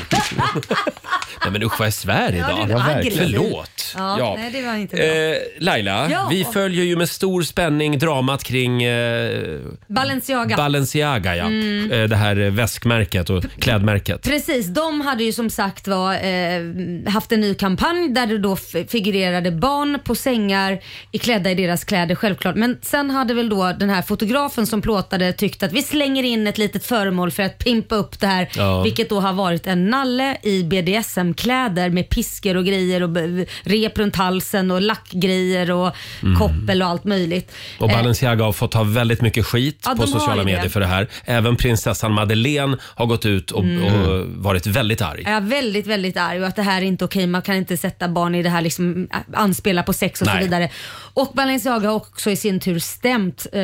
Nej men usch vad jag svär
Ja,
idag.
du är aggressiv.
Förlåt.
Ja, Nej, det var inte bra.
Eh, Laila,
Ja.
vi följer ju med stor spänning dramat kring eh,
Balenciaga.
Balenciaga, ja.
Mm.
Eh, det här eh, väskmärket och klädmärket.
Precis, de hade ju som sagt var, eh, haft en ny kampanj där det då f- figurerade barn på sängar i- klädda i deras kläder självklart. Men sen hade väl då den här fotografen som plåtade tyckt att vi slänger in ett litet föremål för att pimpa upp det här.
Ja.
Vilket då har varit en nalle i BDSM-kläder med piskor och grejer och b- rep runt halsen och lackgrejer och
Mm.
koppel och allt möjligt.
Och
Eh,
Balenciaga har fått ta väldigt mycket skit
Ja,
på
de har
sociala
ju det.
medier för det här. Även prinsessan Madeleine har gått ut och,
Mm.
och varit väldigt arg.
Jag är väldigt, väldigt arg och att det här är inte okej. Man kan inte sätta barn i det här, liksom, äh, anspela på sex och
Nej.
så vidare. Och Balenciaga har också i sin tur stämt eh,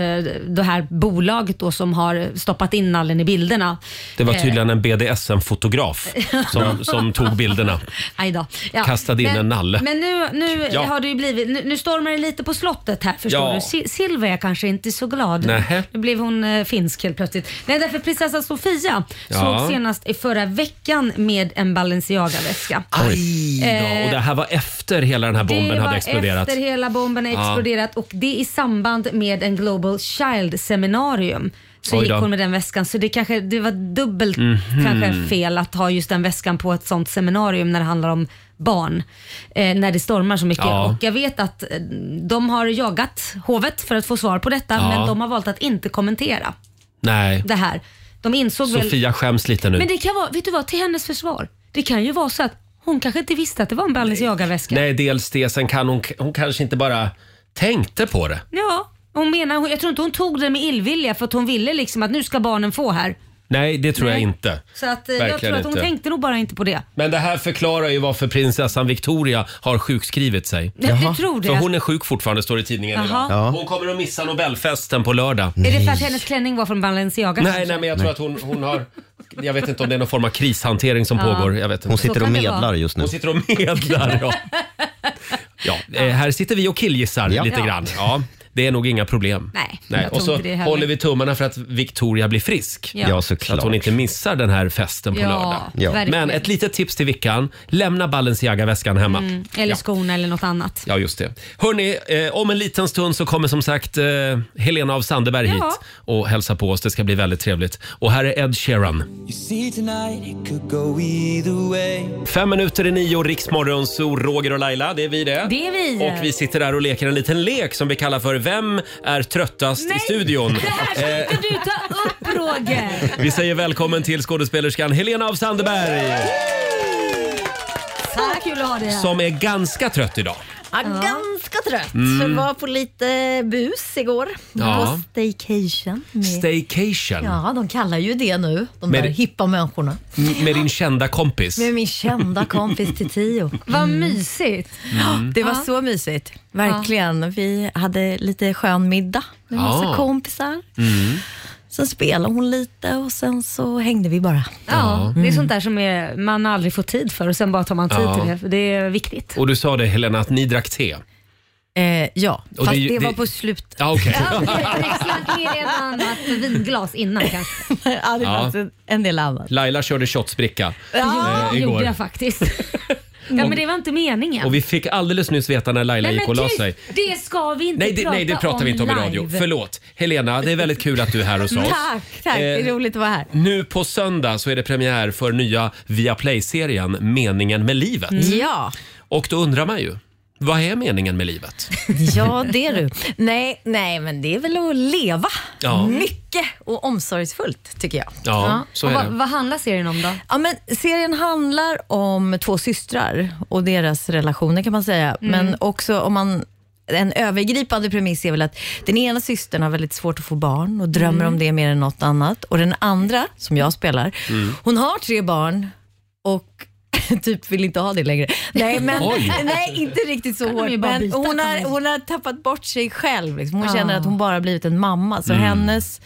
det här bolaget då som har stoppat in nallen i bilderna.
Det var
Eh,
tydligen en BDSM-fotograf som, som tog bilderna.
Aj då. Ja.
Kastade in
men,
en nalle.
Men nu, nu
Ja.
har det ju blivit, nu, nu stormar det lite på slottet här förstår
Ja.
du. Si- Silvia är kanske inte så glad.
Nähä.
Nu blev hon eh, finsk helt plötsligt. Nej, därför prinsessa Sofia
Ja.
såg senast i förra veckan med en Balenciaga-väska.
Aj då.
Eh,
Och det här var efter hela den här bomben hade exploderat.
Det var efter hela bomben hade
Ja.
exploderat och det i samband med en Global Child seminarium. Så
Oj
gick
då.
hon med den väskan. Så det kanske det var dubbelt
Mhm.
kanske fel att ha just den väskan på ett sånt seminarium när det handlar om barn eh, när det stormar så mycket.
Ja.
Och jag vet att eh, de har jagat hovet för att få svar på detta,
Ja.
men de har valt att inte kommentera
Nej.
det här. De insåg väl...
Sofia skäms lite nu.
Men det kan vara, vet du vad, till hennes försvar. Det kan ju vara så att hon kanske inte visste att det var en Ballys jagarväska.
Nej, dels det. Sen kan hon, hon kanske inte bara tänkte på det.
Ja, hon menar, jag tror inte hon tog det med illvilja för att hon ville liksom att nu ska barnen få här.
Nej, det tror jag
Nej.
inte.
Så att, eh, jag
Verkligen
tror att hon
inte.
tänkte nog bara inte på det.
Men det här förklarar ju varför prinsessan Victoria har sjukskrivit sig.
Ja, du Jaha. tror det.
För hon är sjuk fortfarande, står det i tidningen
Jaha.
idag.
Ja.
Hon kommer att missa Nobelfesten på lördag.
Är det för att hennes klänning var från Balenciaga?
Nej,
kanske?
nej, men jag tror att hon, hon har... Jag vet inte om det är någon form av krishantering som
Ja.
pågår. Jag vet inte.
Hon sitter Så och kan det medlar vara. just nu.
Hon sitter och medlar, ja. ja eh, här sitter vi och killgissar
Ja.
lite
Ja.
grann. Ja, det är nog inga problem.
Nej,
Nej.
jag tror
Och så
inte det heller.
håller vi tummarna för att Victoria blir frisk.
Ja. Ja,
Så att hon inte missar den här festen på
Ja,
lördag.
Ja. verkligen.
Men ett litet tips till Vickan. Lämna Balenciaga-väskan hemma.
Mm, eller
Ja.
skorna eller något annat.
Ja, just det. Hörni, eh, om en liten stund så kommer som sagt eh, Helena av Sandeberg
Ja.
hit och hälsa på oss. Det ska bli väldigt trevligt. Och här är Ed Sheeran.
You see tonight it could go either way
Fem minuter i nio, Riksmorgon, så Roger och Laila, det är vi det.
Det är vi.
Och vi sitter där och leker en liten lek som vi kallar för Vem är tröttast i studion?
Det här ska
Eh,
inte du ta upp Roger!
vi säger välkommen till skådespelerskan Helena av Sandeberg
Så kul att ha dig
som är ganska trött idag.
Ja, ganska trött.
Mm.
För var på lite bus igår.
Ja.
På staycation. Med,
Staycation
Ja, de kallar ju det nu. De
Med-
där hippa människorna.
M- med din kända kompis.
Med min kända kompis till tio.
Vad mysigt.
Mm.
Det var
Ja.
så mysigt. Verkligen. Vi hade lite skön middag med massa
Ja.
kompisar.
Mm.
Sen spelade hon lite och sen så hängde vi bara.
Ja, det är sånt där som är, man aldrig får tid för och sen bara tar man tid
Ja.
till det. för Det är viktigt.
Och du sa det Helena, att ni drack te.
ja,
Och fast det- det var det- på
slutet.
Ja, okej.
Växlat ner ett annat vinglas innan kanske.
ja,
det fanns
en, en del annat.
Laila körde shotsbricka
Ja,
eh,
det
igår.
gjorde jag faktiskt. Ja, men det var inte meningen.
Och vi fick alldeles nyss veta när Laila
Nej,
gick och la
men tyst,
sig.
det ska vi inte
Nej det,
prata
nej, det pratar vi inte om i radio.
live.
Förlåt. Helena, det är väldigt kul att du är här hos oss.
Tack, tack. Det är
Eh,
roligt att vara här.
Nu på söndag så är det premiär för nya Viaplay-serien Meningen med livet.
Ja.
Och då undrar man ju, vad är meningen med livet?
Ja, det är du. Nej, nej, men det är väl att leva
Ja.
mycket och omsorgsfullt tycker jag.
Ja, så är
Och
det.
vad, vad handlar serien om då?
Ja, men serien handlar om två systrar och deras relationer kan man säga.
Mm.
Men också om man en övergripande premiss är väl att den ena systern har väldigt svårt att få barn och drömmer
Mm.
om det mer än något annat. Och den andra, som jag spelar,
Mm.
hon har tre barn och typ vill inte ha det längre. Nej, men,
Oj.
nej inte riktigt så
Kan de
hårt.
ju bara
Men
byta,
hon,
kan
har,
de-
hon har tappat bort sig själv. Liksom. Hon
Ah.
känner att hon bara blivit en mamma. Så
Mm.
hennes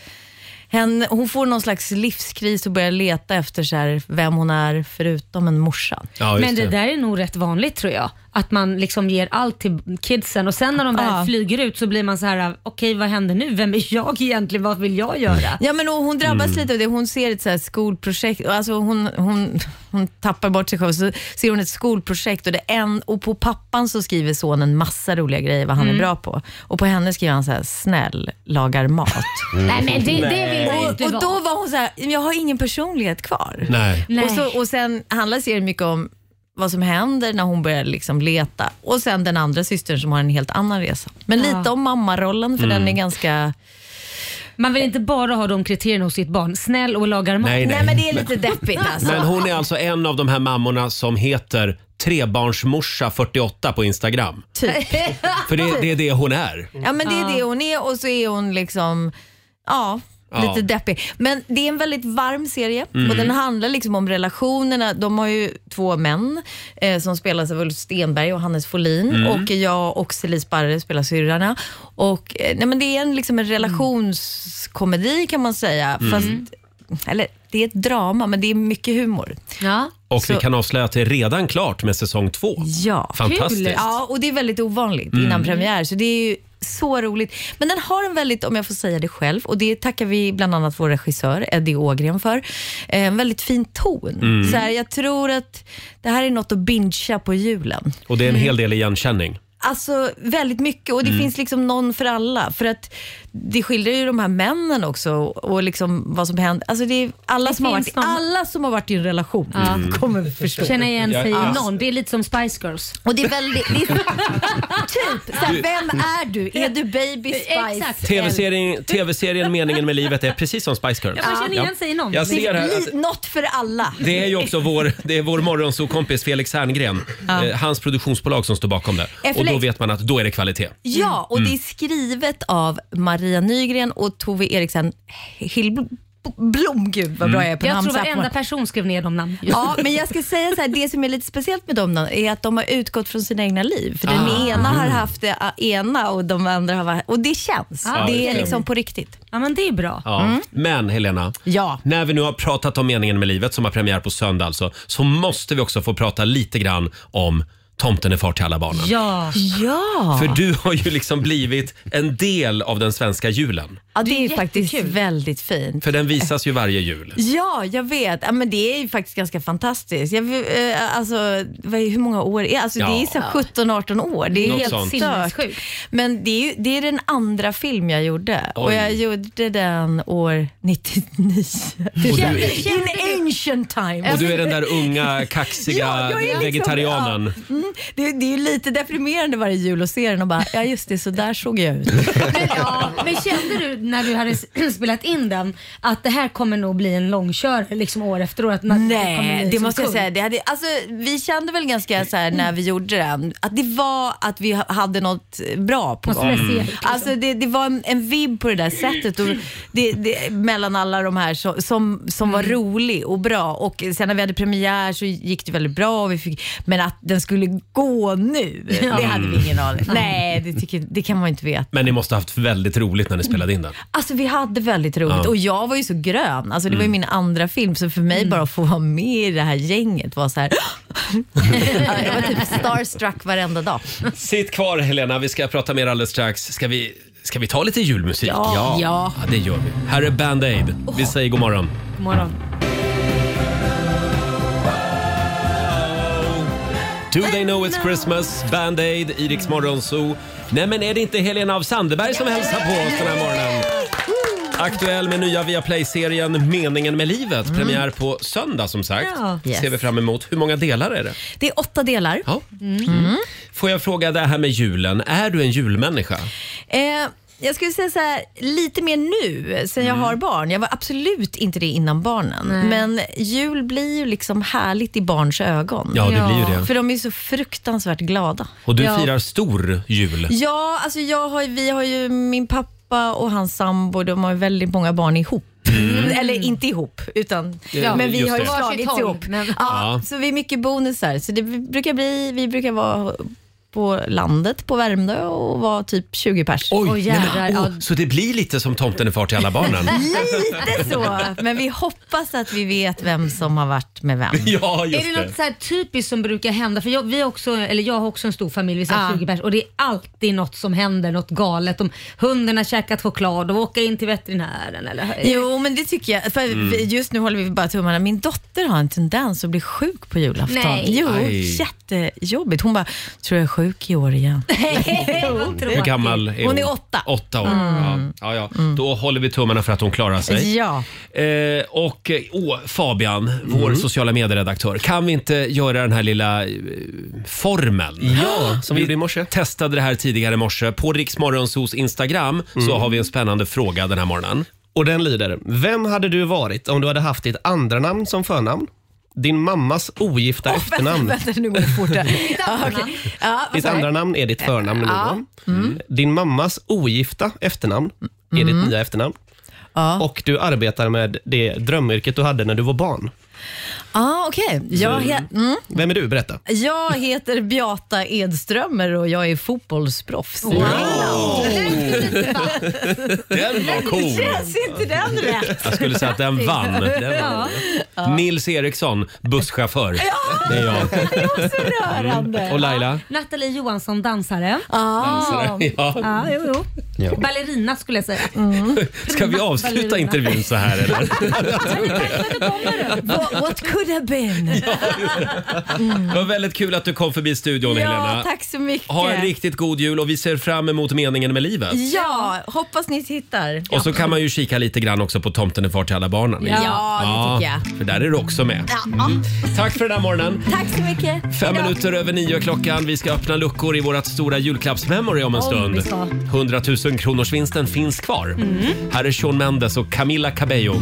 henne, hon får någon slags livskris och börjar leta efter så här, vem hon är förutom en morsa.
men det, där är nog rätt vanligt tror jag. Att man liksom ger allt till kidsen och sen när de väl
Ja.
flyger ut så blir man så här, okej vad händer nu? Vem är jag egentligen? Vad vill jag göra?
Ja, men och hon drabbas
Mm.
lite av det. Hon ser ett så här skolprojekt. och Alltså hon, hon, hon tappar bort sig själv så ser hon ett skolprojekt och, det är en, och på pappan så skriver sonen massa roliga grejer vad han
Mm.
är bra på. Och på henne skriver han så här, snäll, lagar mat.
Nej, men det- det vill man ju
och,
inte
Och
vara.
då var hon så här, jag har ingen personlighet kvar.
Nej.
Och, så, och sen handlar serien mycket om vad som händer när hon börjar liksom leta. Och sen den andra systern som har en helt annan resa. Men
Ja.
lite om mammarollen för
Mm.
den är ganska...
Man vill inte bara ha de kriterierna hos sitt barn. Snäll och lagar mat.
Nej, nej. Nej, men det är lite
deppigt
Men hon är alltså en av de här mammorna som heter trebarnsmorsa48 på Instagram.
Typ.
För det, det är det hon är.
Ja men det är det hon är och så är hon liksom, ja.
Ja.
Lite deppig. Men det är en väldigt varm serie
Mm.
och den handlar liksom om relationerna. De har ju två män eh, som spelas av Ulf Stenberg och Hannes Folin
Mm.
och jag och Celie Sparre spelar syrrarna. Och, eh, nej, men det är en, liksom en relationskomedi kan man säga.
Mm.
Fast, eller, det är ett drama men det är mycket humor.
Ja.
Och vi
Så-
kan avslöja att det är redan klart med säsong två.
Ja,
Fantastiskt.
Ja, och det är väldigt ovanligt
Mm.
innan premiär, så det är ju så roligt. Men den har en väldigt, om jag får säga det själv, och det tackar vi bland annat vår regissör Eddie Ågren för, eh, en väldigt fin ton.
Mm.
Så här, jag tror att det här är något att bingea på julen.
Och det är en hel del igenkänning.
Alltså väldigt mycket och det
Mm.
finns liksom någon för alla. För att det skildrar ju de här männen också och liksom vad som händer. Alltså det är alla,
Det
som har, varit,
finns någon-
alla som har varit i en relation
Ja.
Mm.
kommer förstå.
Känna igen sig i
Ja.
någon. Det är lite som Spice Girls.
Och det är väldigt... Det är typ, så här,
Du-
vem är du? Är du baby Spice?
TV-serien, TV-serien Meningen med livet är precis som Spice Girls.
Ja, man känner igen
sig i någon.
Jag ser här att
Li- Något för alla.
det är ju också vår, det är vår morgonsokompis Felix Herngren,
Ja.
eh, hans produktionsbolag som står bakom det.
Felix-
Och då vet man att då är det kvalitet.
Ja, och
Mm.
det är skrivet av Maria Nygren och Tove Eriksen Hillblom. Gud vad bra jag är på
Jag
namn.
tror
så här på
varenda
morgonen.
person skrev ner de namnen.
Ja, men jag ska säga så här, det som är lite speciellt med dem då, är att de har utgått från sina egna liv. För
Ah.
den ena har
Mm.
haft det ä, ena och de andra har varit... Och det känns.
Ja,
det
just
är
det.
liksom på riktigt.
Ja, men det är bra.
Ja.
Mm.
Men Helena,
Ja.
när vi nu har pratat om Meningen med livet som har premiär på söndag alltså, så måste vi också få prata lite grann om Tomten är far till alla barnen.
Ja.
Ja.
För du har ju liksom blivit en del av den svenska julen.
Ja, det, är ju faktiskt väldigt fint.
För den visas ju varje jul.
Ja, jag vet. Ja, men det är ju faktiskt ganska fantastiskt. Jag, vill- eh, alltså, vad är, hur många år är det? Alltså,
Ja.
Det är så här 17-18 år. Det är
Något
helt
sånt.
stört. Men det är, ju, det är den andra film jag gjorde och
Oj.
jag gjorde den år 99.
du-
In ancient time.
Och du är den där unga, kaxiga
alltså, Ja, jag är liksom-
vegetarianen.
Mm, det, det är ju lite deprimerande varje jul att se den och bara, ja just det, så där såg jag ut.
Ja, men kände du när du hade s- spelat in den att det här kommer nog bli en långkörare liksom år efter år? Att man kommer
Nej,
bli
det
som
måste jag
kung?
säga. Det hade, alltså, vi kände väl ganska så här när vi gjorde den, att det var att vi ha- hade något bra på
Något
gång.
speciellt,
Alltså, det, det var en, en vibb på det där sättet och det, det, mellan alla de här som, som, som var rolig och bra. Och sen när vi hade premiär så gick det väldigt bra. Och vi fick, men att den skulle gå nu, det hade vi ingen aning om. Nej, det, tycker, det kan man inte veta.
Men ni måste ha haft väldigt roligt när ni spelade in den.
Alltså vi hade väldigt roligt
Ja.
och jag var ju så grön. Alltså, det var ju
Mm.
min andra film så för mig bara att få vara med i det här gänget var så här. Ja, jag var typ starstruck varenda dag.
Sitt kvar Helena, vi ska prata mer alldeles strax. Ska vi, ska vi ta lite julmusik?
Ja.
ja.
Ja.
Ja, det gör vi. Här är Band Aid. Vi säger god morgon.
God morgon.
Do they know it's Christmas? Band-Aid, Iriks morgonzoo. Nej men är det inte Helena av Sandeberg som hälsar på oss den här morgonen? Aktuell med nya Viaplay-serien Meningen med livet. Premiär på söndag som sagt.
Mm. Ja. Yes.
Ser vi fram emot. Hur många delar är det?
Det är åtta delar.
Ja.
Mm.
Får jag fråga det här med julen. Är du en julmänniska?
Eh, jag skulle säga så här, lite mer nu sen
Mm.
jag har barn. Jag var absolut inte det innan barnen.
Nej.
Men jul blir ju liksom härligt i barns ögon.
Ja, det blir ju det.
För de är så fruktansvärt glada.
Och du
Ja.
firar stor jul.
Ja, alltså jag har, vi har ju min pappa och hans sambo, de har ju väldigt många barn ihop. Eller inte ihop, utan,
Mm. Ja,
men
just
vi har ju
det.
slagits
Varsitt håll,
ihop.
men-
Ja,
Ja.
Så vi är mycket bonusar. Så det brukar bli, vi brukar vara på landet, på Värmdö och vara typ 20 pers. Oj,
Nej, men, åh, så det blir lite som Tomten är far till alla barnen?
Lite så, men vi hoppas att vi vet vem som har varit med vem.
Ja,
är det något så här typiskt som brukar hända? För jag, vi har också, eller jag har också en stor familj, vi är så här
Ja.
20 pers och det är alltid något som händer, något galet. Om hunden har käkat choklad och åka in till veterinären eller...
Jo, men det tycker jag. För
Mm.
vi- Just nu håller vi bara tummarna. Min dotter har en tendens att bli sjuk på julafton.
Nej.
Jo,
Aj.
jättejobbigt. Hon bara, tror jag är sjuk i år igen.
Hur gammal är hon?
Hon är åtta.
Åtta år.
Mm.
Ja. Ja, ja. Då håller vi tummarna för att hon klarar sig.
Ja.
Eh, och eh, åh, Fabian, vår sociala medieredaktör. Kan vi inte göra den här lilla eh, formeln?
Ja,
som vi gjorde i morse. testade det här tidigare i morse. På Riksmorgonsos Instagram så
Mm.
har vi en spännande fråga den här morgonen.
Och den lyder, vem hade du varit om du hade haft ditt andra namn som förnamn? Din mammas ogifta efternamn.
Vänta, nu går det fort här. Ja, okej. Ja, vad
Ditt
sa du?
andra namn är ditt förnamn nummer
Alltså, Ja.
ja. Din mammas ogifta efternamn är ditt nya efternamn. Och du arbetar med det drömyrket du hade när du var barn.
Ja, okej. Jag,
Så-
he- mm.
Vem är du? Berätta.
jag heter Beata Edströmer och jag är fotbollsproffs. Wow.
Den var cool!
Känns inte den rätt?
Jag skulle säga att den vann. Den vann.
Ja.
Nils Eriksson, busschaufför. Det är jag. Mm. Och Laila?
Nathalie Johansson, dansare.
Dansare, ja.
ja jo, jo.
Ja.
Ballerina skulle jag säga.
Ska vi avsluta
Ballerina.
intervjun så här eller?
What, what could have been?
Det var väldigt kul att du kom förbi studion
Ja,
Helena.
tack så mycket.
Ha en riktigt god jul och vi ser fram emot meningen med livet.
Ja, hoppas ni tittar.
Och så kan man ju kika lite grann också på Tomten är far till alla barnen.
Ja, det tycker jag.
För där är du också med. Mm. Tack för den här morgonen.
Tack så mycket.
Fem minuter över nio är klockan. Vi ska öppna luckor i vårt stora julklappsmemory om en
Om vi
stund.
ska.
100 000 kronorsvinsten finns kvar.
Mm.
Här är Shawn Mendes och Camila Cabello.